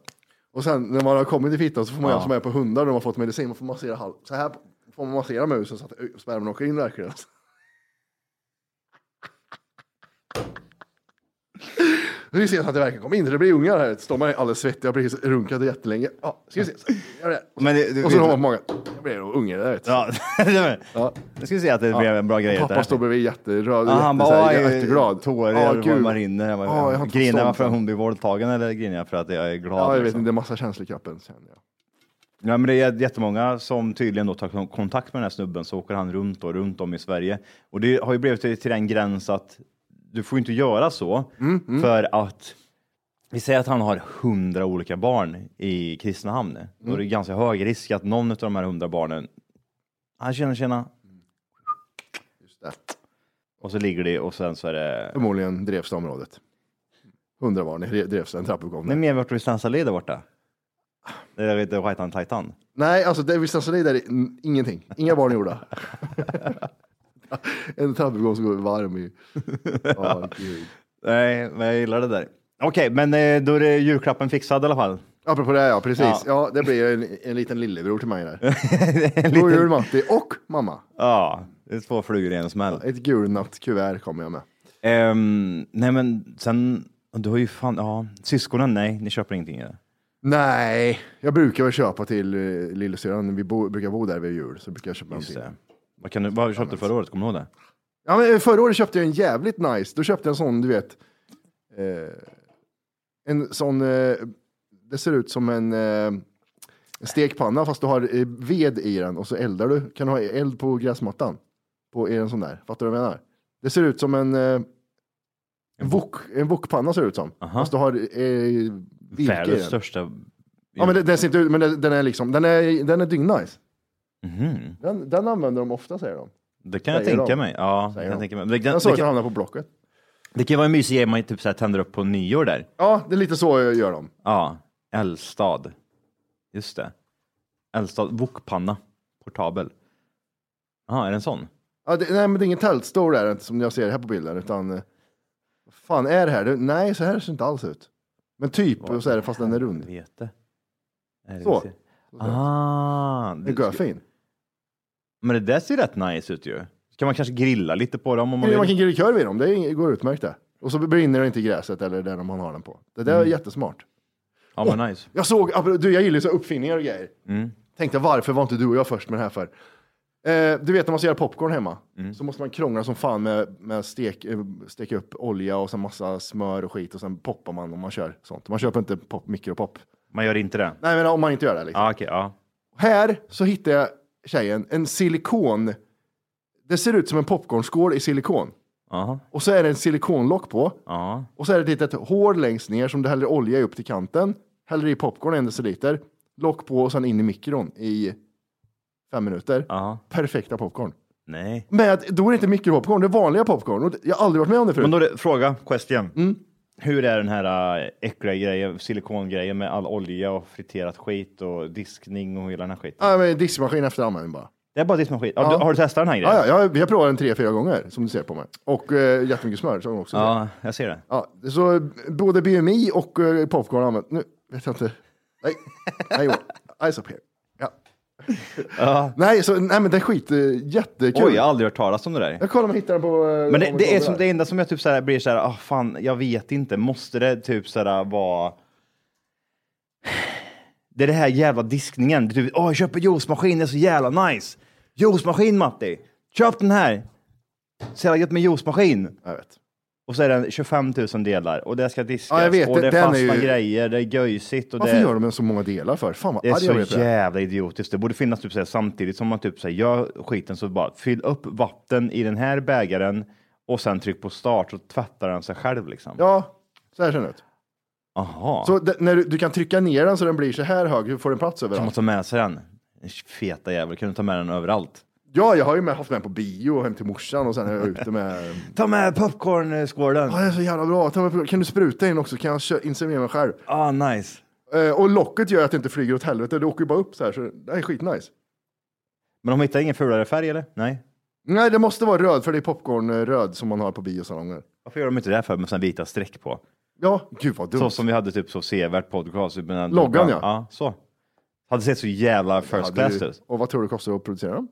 Och sen när man har kommit i fittan så får man Ja. göra som är på hundar när de har fått medicin. Man får massera halv... Så här får man massera musen så att ö, sperman åker in verkligen. Nu ser jag att det verkligen kommer in. Det blir ungar här. Står man alldeles svettig. Jag har precis runkat jättelänge. Ja, ska vi se. Så, gör det. Men det- du och så vet- har man många. Jag blir nog unge där. vet du. Ja, <laughs> det var- Ja. jag skulle säga att det blev en bra grej. Pappa där. står bredvid jätteröd. Ja, och han jätte, bara, bara, "Aj, jätteglad. Ja, Tårar gud. oh, man rinner. Jag bara, Ja, jag har inte grinar man förstånd. för att hon blir våldtagen eller grinar jag för att jag är glad? Ja, jag vet liksom? inte. Det är massa känslor i kroppen. känner jag. Ja, men det är jättemånga som tydligen då tar kontakt med den här snubben, så åker han runt och runt om i Sverige. Och det har ju blivit till, till den gräns att du får inte göra så, Mm, för att vi säger att han har hundra olika barn i Kristinehamn. Då Mm. är det ganska hög risk att någon av de här hundra barnen, han känner tjena. Just det. Och så ligger det och sen så är det Förmodligen drevs det området. Hundra barn dre- drevs en trappuppgång. Nej, Nej, men vart du stansar där borta? Ah. Det är inte White Titan. alltså det vi stansade i där, är n- ingenting. Inga barn <laughs> gjorda. en trappuppgång som går varm i. Ja, gud. Nej, men jag gillar det där. Okej, men eh, då är det julklappen fixad i alla fall. Apropå det, ja precis. Ja, Ja. det blir en, en liten lillebror till mig <laughs> där. <laughs> God jul Matti och mamma. Ja, det är två flugor i en smäll. Ett gulnat kuvert kommer jag med. Ehm, nej, men sen, du har ju fan, ja, syskonen, nej, ni köper ingenting. eller? Nej, jag brukar väl köpa till eh, lillasyrran. Vi bo, brukar bo där vid jul så brukar jag köpa Just någonting. det. Vad, kan du, vad köpte du förra året? Kommer du ihåg det? Ja, men förra året köpte jag en jävligt nice. Då köpte jag en sån, du vet. Eh, en sån, eh, det ser ut som en, eh, en stekpanna fast du har eh, ved i den och så eldar du. Kan du ha eld på gräsmattan? På i en sån där. Fattar du vad jag menar? Det ser ut som en, eh, en, wok, en wokpanna ser det ut som. Aha. Fast du har eh, virke i Världens den. största. Ja, men det, den ser inte ut, men det, den är liksom, den är, den är dyngnice. Mhm, Den, den använder de ofta säger de. Det kan jag Säger tänka de. mig. Ja, det Säger kan jag de. tänka mig. Det, Jag det, såg det, att den kan, hamnade på Blocket. det kan vara en mysig grej man typ så här, tänder upp på nyår där. Ja, det är lite så jag gör de. Ja, eldstad. Just det. Eldstad, wokpanna, portabel. Jaha, är det en sån? Ja, det, nej, men det är ingen tältstol där inte som jag ser här på bilden, utan eh, vad fan är det här? Det, nej, så här ser det inte alls ut. Men typ, och så är det fast den är rund. Vet det. Är det Så. vi ser? Ah, Det är görfin. Men det där ser rätt nice ut ju. Ska man kanske grilla lite på dem om man Man, man vill? kan grilla korv i dem, det är ing- går utmärkt det. Och så brinner det inte i gräset eller där man har den på. Det där Mm. är jättesmart. Ja, men nice. Jag såg, du jag gillar ju så här uppfinningar och grejer. Tänkte varför var inte du och jag först med det här för? Eh, du vet när man ska göra popcorn hemma så måste man krångla som fan med, med stek, eh, steka upp olja och sen massa smör och skit och sen poppar man om man kör sånt. Man köper inte pop, mikropop. Man gör inte det? Nej men om man inte gör det. Liksom. Ja, okej. ja. Här så hittar jag tjejen en silikon. Det ser ut som en popcornskål i silikon. Aha. Och så är det en silikonlock på. Ja. Och så är det ett litet hål längst ner som du häller olja upp till kanten. Häller i popcorn en deciliter. Lock på och sen in i mikron i fem minuter. Perfekta popcorn. Nej. Med, då är det inte mikropopcorn, det är vanliga popcorn. Och jag har aldrig varit med om det förut. Men då är det, fråga, question. Mm. Hur är den här äh, äckliga grejen, silikongrejen med all olja och friterat skit och diskning och hela den här skiten? Ja, men diskmaskin efter användning bara. Det är bara diskmaskin. Ja. du- Har du testat den här grejen? Ja, ja, jag, vi har provat den tre, fyra gånger som du ser på mig. Och eh, jättemycket smör som jag också ser. Ja, jag ser det. Ja, så både BMI och eh, popcorn har använt. Nu vet jag inte. Nej, nej, Johan. Ice up here. Ja. nej, så, nej, men det är skit. eh, Jättekul. Oj, jag har aldrig hört talas om det där. Jag kollar om jag hittar den på... eh, Men det, om vi det är kollar som här. det enda som jag typ så här blir så här, ah fan, jag vet inte, måste det typ så här vara... Det är det här jävla diskningen, du, åh jag köper juicemaskin, det är så jävla nice. Juicemaskin Matti, köp den här. Så jävla gött med juicemaskin. Jag vet. Och så är den 25 000 delar och det ska diskas Ja, jag vet, och det är den är fasta ju- grejer, det är göjsigt och Varför det... gör de så många delar för? Fan vad Det är arg jag blev så på det. jävla idiotiskt. Det borde finnas typ så här, samtidigt som man typ så här, gör skiten så bara fyll upp vatten i den här bägaren och sen tryck på start så tvättar den sig själv liksom. Ja, så här ser den ut. Jaha. Så det, när du, du kan trycka ner den så den blir så här hög, hur får den plats Kan man överallt? ta med sig den? Den Feta jävel, kan du ta med den överallt? Ja, jag har ju med, haft med på bio och hem till morsan och sen är jag ute med... <laughs> Ta med popcornskålen. Ja, det är så jävla bra. Ta med- Kan du spruta in också? Kan jag kö- inseminera mig själv? Ah, nice. Eh, och locket gör att det inte flyger åt helvete. Det åker ju bara upp så här, så det är skitnice. Men de hittar ingen fulare färg eller? Nej. Nej, det måste vara röd, för det är popcornröd som man har på biosalonger. Varför gör de inte det här för med sådana vita streck på? Ja, gud vad dumt. Så som vi hade typ så sevärt podcast. men ändå- Loggan, ja. Ja, så. Hade sett så jävla first Ja, class det- ut. Och vad tror du det kostar att producera dem?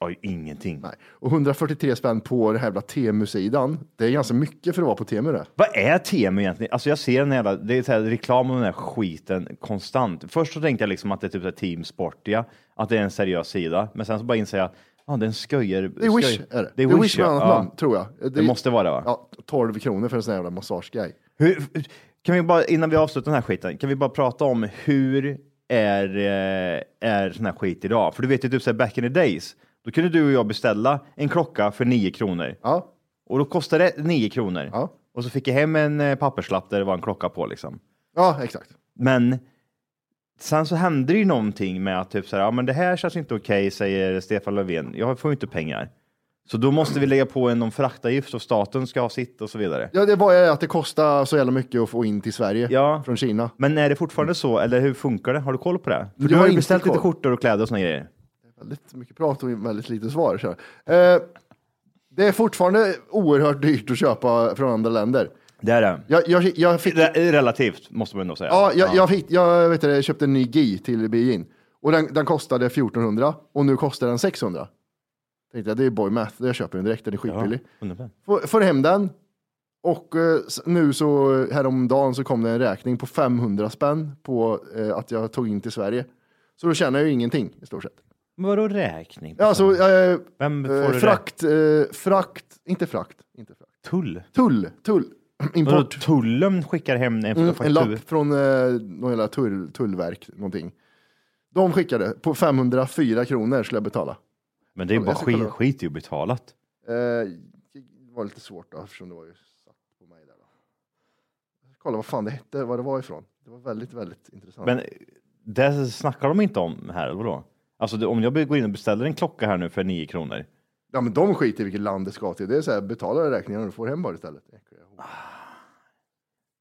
Oj, ingenting. Nej. Och 143 spänn på den här jävla Temu-sidan. Det är ganska mycket för att vara på Temu det. Vad är Temu egentligen? Alltså jag ser den här jävla, det är så här reklam om den här skiten konstant. Först så tänkte jag liksom att det är typ så här Team Sportiga, att det är en seriös sida. Men sen så bara inser jag, ah, det är en sköjer... Det är Wish, är det. Det är Wish med annat namn, tror jag. Det, måste vara det va? Ja, 12 kronor för en sån här jävla massagegrej. Hur, kan vi bara, innan vi avslutar den här skiten, kan vi bara prata om hur är, eh, är sån här skit idag? För du vet ju typ så här back in the days, då kunde du och jag beställa en klocka för 9 kronor. Ja. Och då kostade det 9 kronor. Och så fick jag hem en eh, papperslapp där det var en klocka på liksom. Ja, exakt. Men sen så hände det ju någonting med att typ så här, ja men det här känns inte okej, säger Stefan Löfven. Jag får ju inte pengar. Så då måste vi lägga på en någon fraktavgift och staten ska ha sitt och så vidare. Ja, det var ju att det kostar så jävla mycket att få in till Sverige Ja. från Kina. Men är det fortfarande så, eller hur funkar det? Har du koll på det? För Jag du har har ju inte beställt lite koll. skjortor och kläder och såna grejer. Väldigt mycket prat och väldigt lite svar. Så här. Eh, det är fortfarande oerhört dyrt att köpa från andra länder. Det är det. Jag, jag, jag fick... Re- Relativt, måste man ändå säga. Ja, jag, jag, fick, jag vet det, köpte en ny GI till Beijing och den, den kostade 1400 och nu kostar den 600. Tänkte jag, det är boy math, jag köper den direkt, den är skitbillig. Underbart. Får, får hem den och eh, s- nu så häromdagen så kom det en räkning på 500 spänn på eh, att jag tog in till Sverige. Så då tjänar jag ju ingenting i stort sett. Men vadå räkning? Ja, så, eh, Vem får eh, du frakt, eh, frakt, inte frakt, inte frakt. Tull? Tull, tull, <clears throat> Vadå, import. tullen skickar hem en Mm, en faktur? lapp från eh, någon jävla tull, tullverk, någonting. De skickade på 504 kronor skulle jag betala. Men det är ju bara Jag ska kolla. skit, skit i att betalat. Eh, det var lite svårt då, eftersom det var ju satt på mig där. Då. Kolla vad fan det hette, vad det var ifrån. Det var väldigt, väldigt intressant. Men det snackar de inte om här, eller vadå? Alltså det- om jag går in och beställer en klocka här nu för 9 kronor. Ja, men de skiter i vilket land det ska till. Det är så här, betala räkningarna och du får hem bara istället.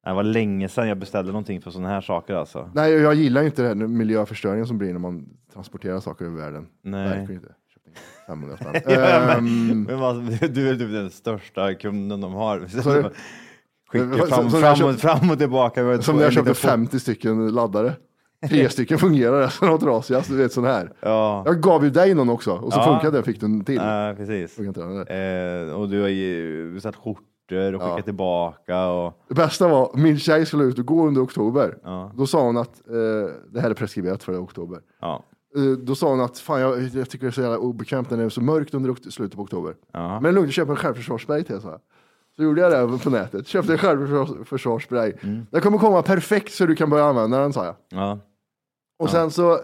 Det var länge sedan jag beställde någonting för sådana här saker alltså. Nej, jag gillar ju inte den här miljöförstöringen som blir när man transporterar saker över världen. Nej. Verkligen inte. <laughs> Köpte in 500 spänn. Ja, men- Ehm, men vad- <laughs> du är typ den största kunden de har. <laughs> sa du? Skicka Som- fram, som fram, jag och, köpt- fram och tillbaka. med Som två- när jag en liten köpte fot- 50 stycken laddare. Tre stycken fungerar, alltså, resten var trasiga. Så du vet sån här. Ja. Jag gav ju dig någon också och så Ja. funkade den, fick du en till. Ja, precis. Funkar inte den, eller? Eh, och du har ju beställt skjortor och skickat tillbaka. Och, Det bästa var, min tjej skulle ut och gå under oktober. Ja. Då sa hon att eh, det här är preskriberat för oktober. ja. Eh, Då sa hon att fan, jag, jag tycker det är så jävla obekvämt när det är så mörkt under okt- slutet på oktober. Men lugnt, jag köper en självförsvarsspray till så Så gjorde jag det på nätet. Köpte en självförsvarsspray. Mm. Den kommer komma perfekt så du kan börja använda den, sa jag. Ja. Och sen så,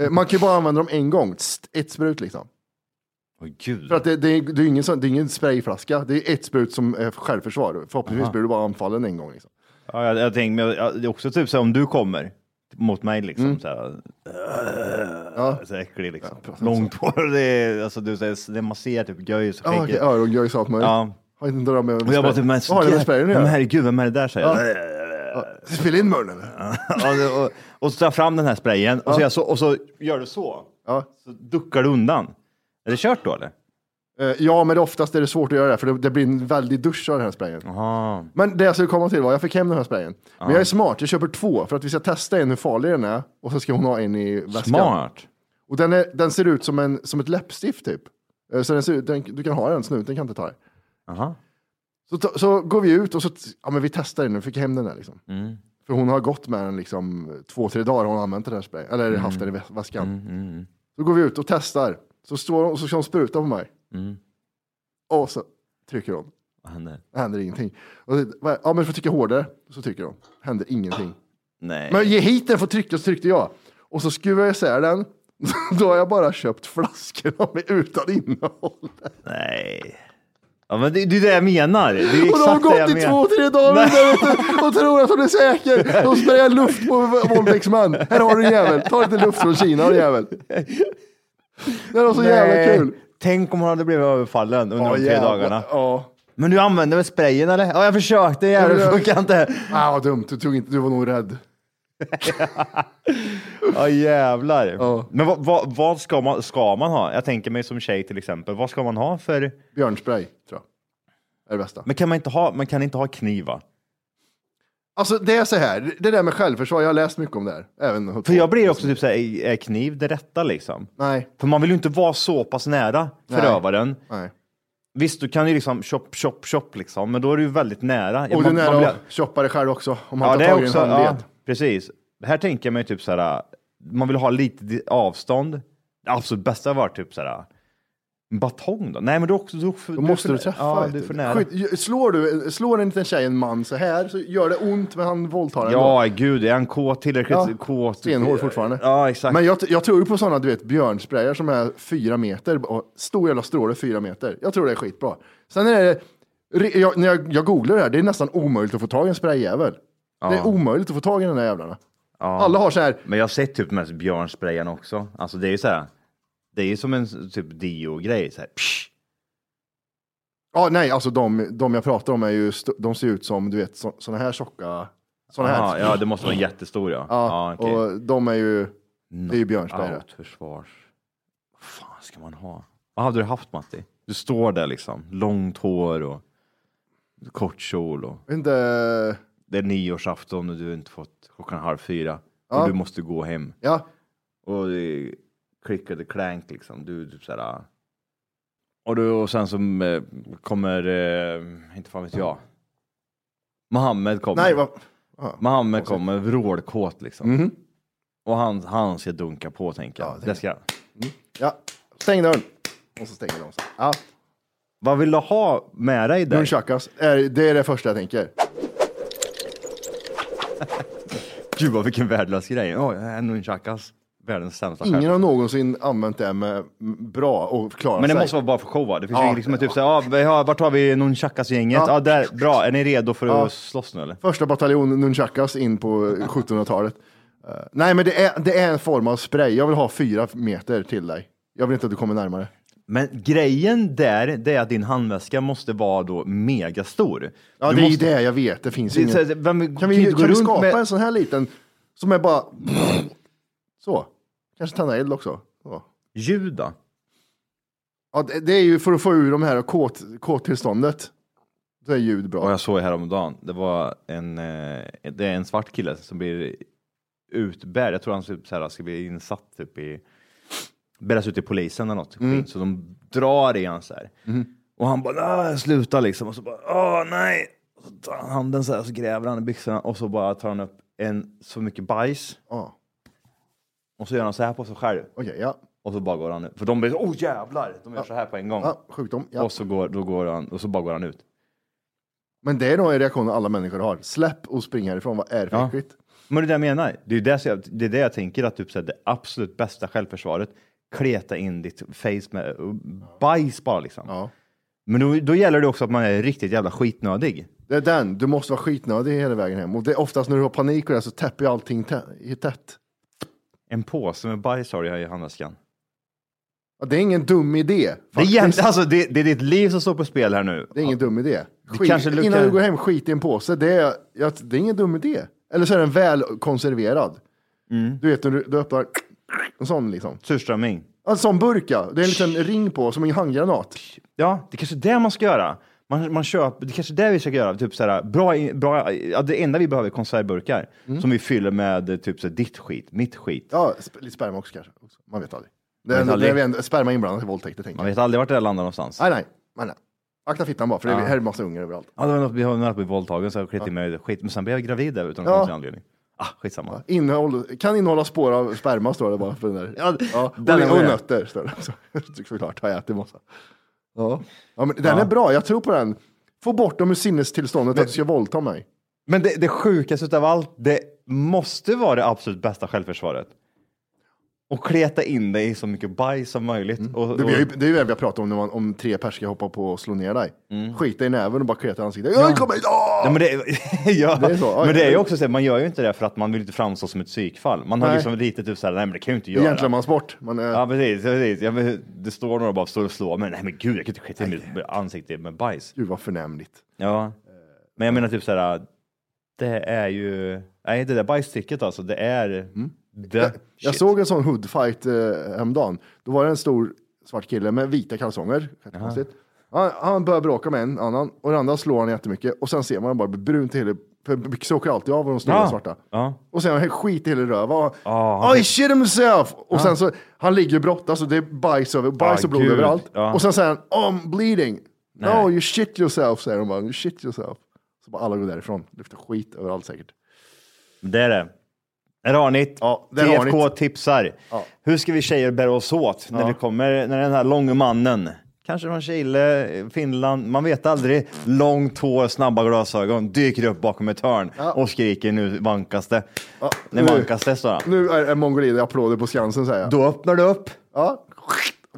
eh, man kan ju bara använda dem en gång. Tst, Ett sprut liksom. Åh gud. För att det, det, är, det, är ingen, sån- det är ingen sprayflaska, det är ett sprut som är för självförsvar. Förhoppningsvis Aha. blir du bara anfallen en gång. Liksom. Ja, jag, jag tänker, men jag, det är också typ så här, om du kommer mot mig liksom så här. Mm. Ja. Så äcklig liksom. Långt hår, det är, alltså du säger, det man ser typ göjs och Ja, okej, örongöjs och allt möjligt. Ja. Har inte en dröm om Och jag bara typ, men, Vad har det med sprayen att men göra? herregud, vem är det där säger Ja. jag. Ja. Spela in munnen eller? <laughs> Ja, det- och, och så tar jag fram den här sprayen och, så, jag så, och så gör du så. Så duckar du undan. Är det kört då eller? Eh, Ja, men oftast är det svårt att göra det, för det, det blir en väldig dusch av den här sprayen. Aha. Men det jag skulle komma till var, jag fick hem den här sprayen. Men jag är smart, jag köper två för att vi ska testa en hur farlig den är och så ska hon ha en i väskan. Smart. Och den, är, den ser ut som, en, som ett läppstift typ. Eh, Så den ser ut, den, du kan ha den, snuten kan inte ta det. Aha. Så, ta- så går vi ut och så, t- ja men vi testar den, nu fick jag hem den här liksom. För hon har gått med den liksom två, tre dagar, hon har använt den här sprayen, eller haft den i vä- väskan. Så går vi ut och testar, så står hon och så ska hon spruta på mig. Och så trycker hon. Vad händer? Det händer ingenting. Och det, vad- ja, men du får trycka hårdare. Så trycker de. Händer ingenting. Nej. Men ge hit den för trycka, så tryckte jag. Och så skruvar jag isär den. <laughs> Då har jag bara köpt flaskor av mig utan innehåll. Nej. Ja, men det, det är det jag menar. Det är Och de har exakt det jag gått i menar. två, tre dagar Nej. där ute och tror att hon är säker. De sprayar luft på våldtäktsman. Här har du en jävel. Ta lite luft från Kina, din jävel. Det var så jävla Nej. kul. Tänk om hon hade blivit överfallen under Ja, de tre jävlar. dagarna. Ja. Men du använde väl sprayen eller? Ja, jag försökte. Jävlar, det funkar inte. Ah, vad dumt. Du, tog inte, du var nog rädd. Ja, jävlar. Men vad, vad, vad ska, man, ska man ha? Jag tänker mig som tjej till exempel. Vad ska man ha för... Björnspray, tror jag. Är det bästa. Men kan man inte ha, man kan inte ha kniv va? Alltså det är så här, det där med självförsvar, jag har läst mycket om det här. Även För jag blir också typ såhär, är kniv det rätta liksom? Nej. För man vill ju inte vara så pass nära Nej. förövaren. Nej. Visst, du kan ju liksom chop, chop, chop liksom, men då är du ju väldigt nära. Och Man- den är man blir- att shoppa dig själv också, om man Ja, tar det tag är i en också, ja, handled. precis. Här tänker jag mig typ så här, man vill ha lite di- avstånd. Det absolut bästa var typ så här, en batong då? Nej, men du är också... Du, är för- Då är måste för- du träffa. Ja, vet du är du. för nära. Skit- slår, du, slår en liten tjej en man så här, så gör det ont, men han våldtar den Ja, gud, är han kåt tillräckligt Ja, kåt? stenhård fortfarande. Ja, exakt. Men jag, jag tror ju på sådana, du vet, björnsprayar som är fyra meter, och stor jävla stråle fyra meter. Jag tror det är skitbra. Sen är det, re- jag, när jag, jag googlar det här, det är nästan omöjligt att få tag i en sprayjävel. Det är omöjligt att få tag i den där jävlarna. Ja. Alla har så här, Men jag har sett typ mest björnsprayen också. Alltså det är ju så här, det är ju som en s- typ Dio-grej. Så här, psh. Ja, nej, alltså de, de jag pratar om är ju, st- de ser ut som, du vet, sådana här tjocka, sådana Aha, här. ja, det måste vara en jättestor ja. Ja, okej. och de är ju, det är ju björnspray. det. Outförsvars. Vad fan ska man ha? Vad hade du haft Matti? Du står där liksom, långt hår och kort kjol och Jag vet Inte, det är nyårsafton och du har inte fått klockan halv fyra Ja. och du måste gå hem. ja, Och det klickade klänk liksom. Du är typ såhär. Och, då, och sen så eh, kommer, eh, inte fan vet jag. Mohammed kommer. nej, vad, ja. Mohammed kommer vrålkåt liksom. Mhm. Och han, han ska dunka på tänker jag. det ska jag. ja, stäng dörren. Och så stänger de. sig. Ja, Vad vill du ha med dig där? nunchakas, är, det är det första jag tänker. Gud vad vilken värdelös grej. Oj, oh, nunchakas. Världens sämsta skämt. Ingen har någonsin använt det med m- bra och klarat Men det sig. måste vara bara för show va? Det finns Ja. ju liksom en typ såhär, ah, vi har- vart har vi nunchakas-gänget? Ja. Ja. där, bra, är ni redo för Ja. att slåss nu eller? Första bataljon nunchakas in på 1700-talet. Eh, nej, men det är, det är en form av spray. Jag vill ha fyra meter till dig. Jag vill inte att du kommer närmare. Men grejen där, det är att din handväska måste vara då megastor. Ja, Du det är ju måste- det jag vet. Det finns Det är ingen. så här, vem- Kan kan vi, du kan gå vi runt skapa med- en sån här liten som är bara så? Kanske tända eld också. Så. Ljud då? Ja, det, det är ju för att få ur de här kåt, kåttillståndet. Det är ljud Och bra. jag såg häromdagen, det var en, eh, det är en svart kille som blir utbärd. Jag tror han typ så här, ska bli insatt typ i, bäras ut till polisen eller något. typ Mm. Så de drar i han så här. Och han bara, "Nej, sluta liksom. Och så bara, åh nej. Och så tar han handen så här, så gräver han i byxorna och så bara tar han upp en, så mycket bajs. Ja. Och så gör han så här på sig själv. ja. Och så bara går han ut. För de blir åh oh, jävlar! De gör så här på en gång. Ja, sjukdom. Ja. Och så går, då går han, och så bara går han ut. Men det är nog en reaktion alla människor har. Släpp och spring härifrån, vad är det för Ja. äckligt? Men det är det jag menar. Det är det, som jag, det, är det jag tänker att typ, så här, det absolut bästa självförsvaret, kleta in ditt face med och bajs bara liksom. Men då, då gäller det också att man är riktigt jävla skitnödig. Det är den, du måste vara skitnödig hela vägen hem. Och det är oftast när du har panik och det här så täpper ju allting tä- i tätt. En påse med bajs har jag i handväskan. Ja, det är ingen dum idé. Det är, faktiskt. jävligt- alltså, det, det är ditt liv som står på spel här nu. Det är ingen dum idé. Det Skit, kanske luktar- Innan du går hem, skit i en påse. Det är, ja, det är ingen dum idé. Eller så är den väl konserverad. Mm. Du vet när du, du öppnar en sån liksom. Surströmming. En sån burk ja. Det är en liten ring på som en handgranat. Ja, det kanske är det man ska göra. Man, man köper, det kanske är det vi ska göra. Typ såhär, bra, i- bra, ja, det enda vi behöver är konservburkar som vi fyller med eh, typ såhär, ditt skit, mitt skit. Mm. Ja, sp- lite sperma också kanske. Också. Man vet aldrig. Det Man är, vet det är, aldrig. väl- sperma inblandat i våldtäkter tänker Man jag. vet aldrig vart det där landar någonstans. Nej, nej. nej, nej. Akta fittan bara, för det är, Ja. här är massa ungar överallt. Ja, det var något, vi har något med våldtagen, så jag klet i mig skit. Men sen blev jag gravid där utan någon Ja. konstig anledning. Ah, skitsamma. Innehåll, kan innehålla spår av sperma står det bara för den där. Ja, den är och, och med. nötter står det <laughs> också. Såklart, har jag ätit massa. Ja. Ja, men den är bra, jag tror på den. Få bort dem ur sinnestillståndet att du ska våldta mig. Men det, det sjukaste utav allt, det måste vara det absolut bästa självförsvaret. Och kleta in dig i så mycket bajs som möjligt. Och, och, Det, vi har ju, det är ju det vi har pratat om, när man, om tre pers ska hoppa på och slå ner dig. Skita i näven och bara kleta i ansiktet. Ja. Kom hit! Åh! Mm. Ja, men det, <laughs> ja, Det är så. Ja, men det är ju ja. också så, här, man gör ju inte det för att man vill inte framstå som ett psykfall. Man har Nej. liksom lite typ såhär, nej men det kan jag ju inte det är göra. gentlemansport. Man är, Ja precis, precis. Ja, men det står några och bara står och slår, men nej men gud jag kan inte skita i mitt ansikte med bajs. Gud vad förnämligt. Ja. Men jag menar typ såhär, det är ju, nej det där bajssticket alltså, det är, Mm. det, Jag såg en sån hoodfight eh, häromdagen. Då var det en stor svart kille med vita kalsonger. Konstigt. Han, han börjar bråka med en annan och den andra slår han jättemycket och sen ser man han bara bli brun till hela... För byxor åker alltid av och de stora Ja. svarta. Ja. Och sen har han skit i hela röva. Ja. Oh, I shit himself! Och sen så, han ligger och brottas och det är bajs, över, bajs Ja, och blod gud. överallt. Ja. Och sen säger han oh, I'm bleeding. Nej. No, you shit yourself, säger de bara. You shit yourself. Så bara alla går därifrån. Luktar skit överallt säkert. Det är det. Där har ni ja, där har ni TFK det. tipsar. Ja. Hur ska vi tjejer bära oss åt när vi kommer, när den här långa mannen, kanske från Chile, Finland, man vet aldrig, långt hår, snabba glasögon, dyker upp bakom ett hörn och skriker nu vankas det. Nu nu- vankas det, står han. Nu är det mongolier applåder på Skansen säger jag. Då öppnar du upp Ja.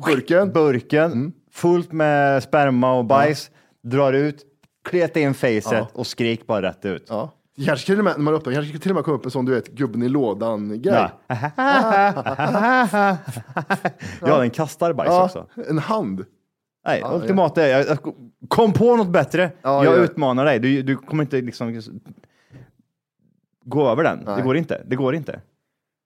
Burken. burken, Mm. fullt med sperma och bajs, drar ut, kleta in facet och skrik bara rätt ut. Ja. Kanske till och med, när man öppnar, kanske till och med kommer upp en sån du vet, gubben i lådan-grej. Ja. <laughs> ja, den kastar bajs Ja, också. en hand. Nej, ultimat är, jag, jag kom på något bättre. jag Ja, gör det. utmanar dig. Du, du kommer inte liksom gå över den. Det Nej. går inte. Det går inte.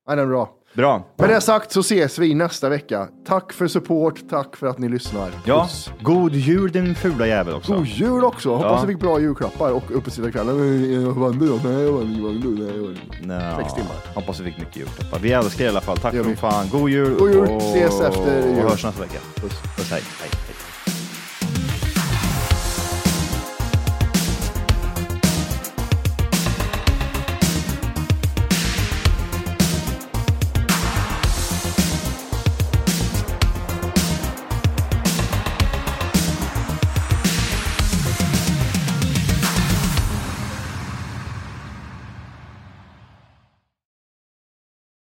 Nej, den är bra. Bra. Med det sagt så ses vi nästa vecka. Tack för support, tack för att ni lyssnar. Ja, Puss. god jul din fula jävel också. God jul också! Hoppas Ja. ni fick bra julklappar och uppesittarkvällen. Nej, jag vann du? Nej, jag vann, jag vann du? Nej, jag vann. Nå, Sex timmar. Hoppas vi fick mycket julklappar. Vi älskar er i alla fall. Tack Det gör som vi. fan. God jul. God jul. och- Ses efter jul. Och hörs nästa vecka. Puss. Puss hej. hej, hej.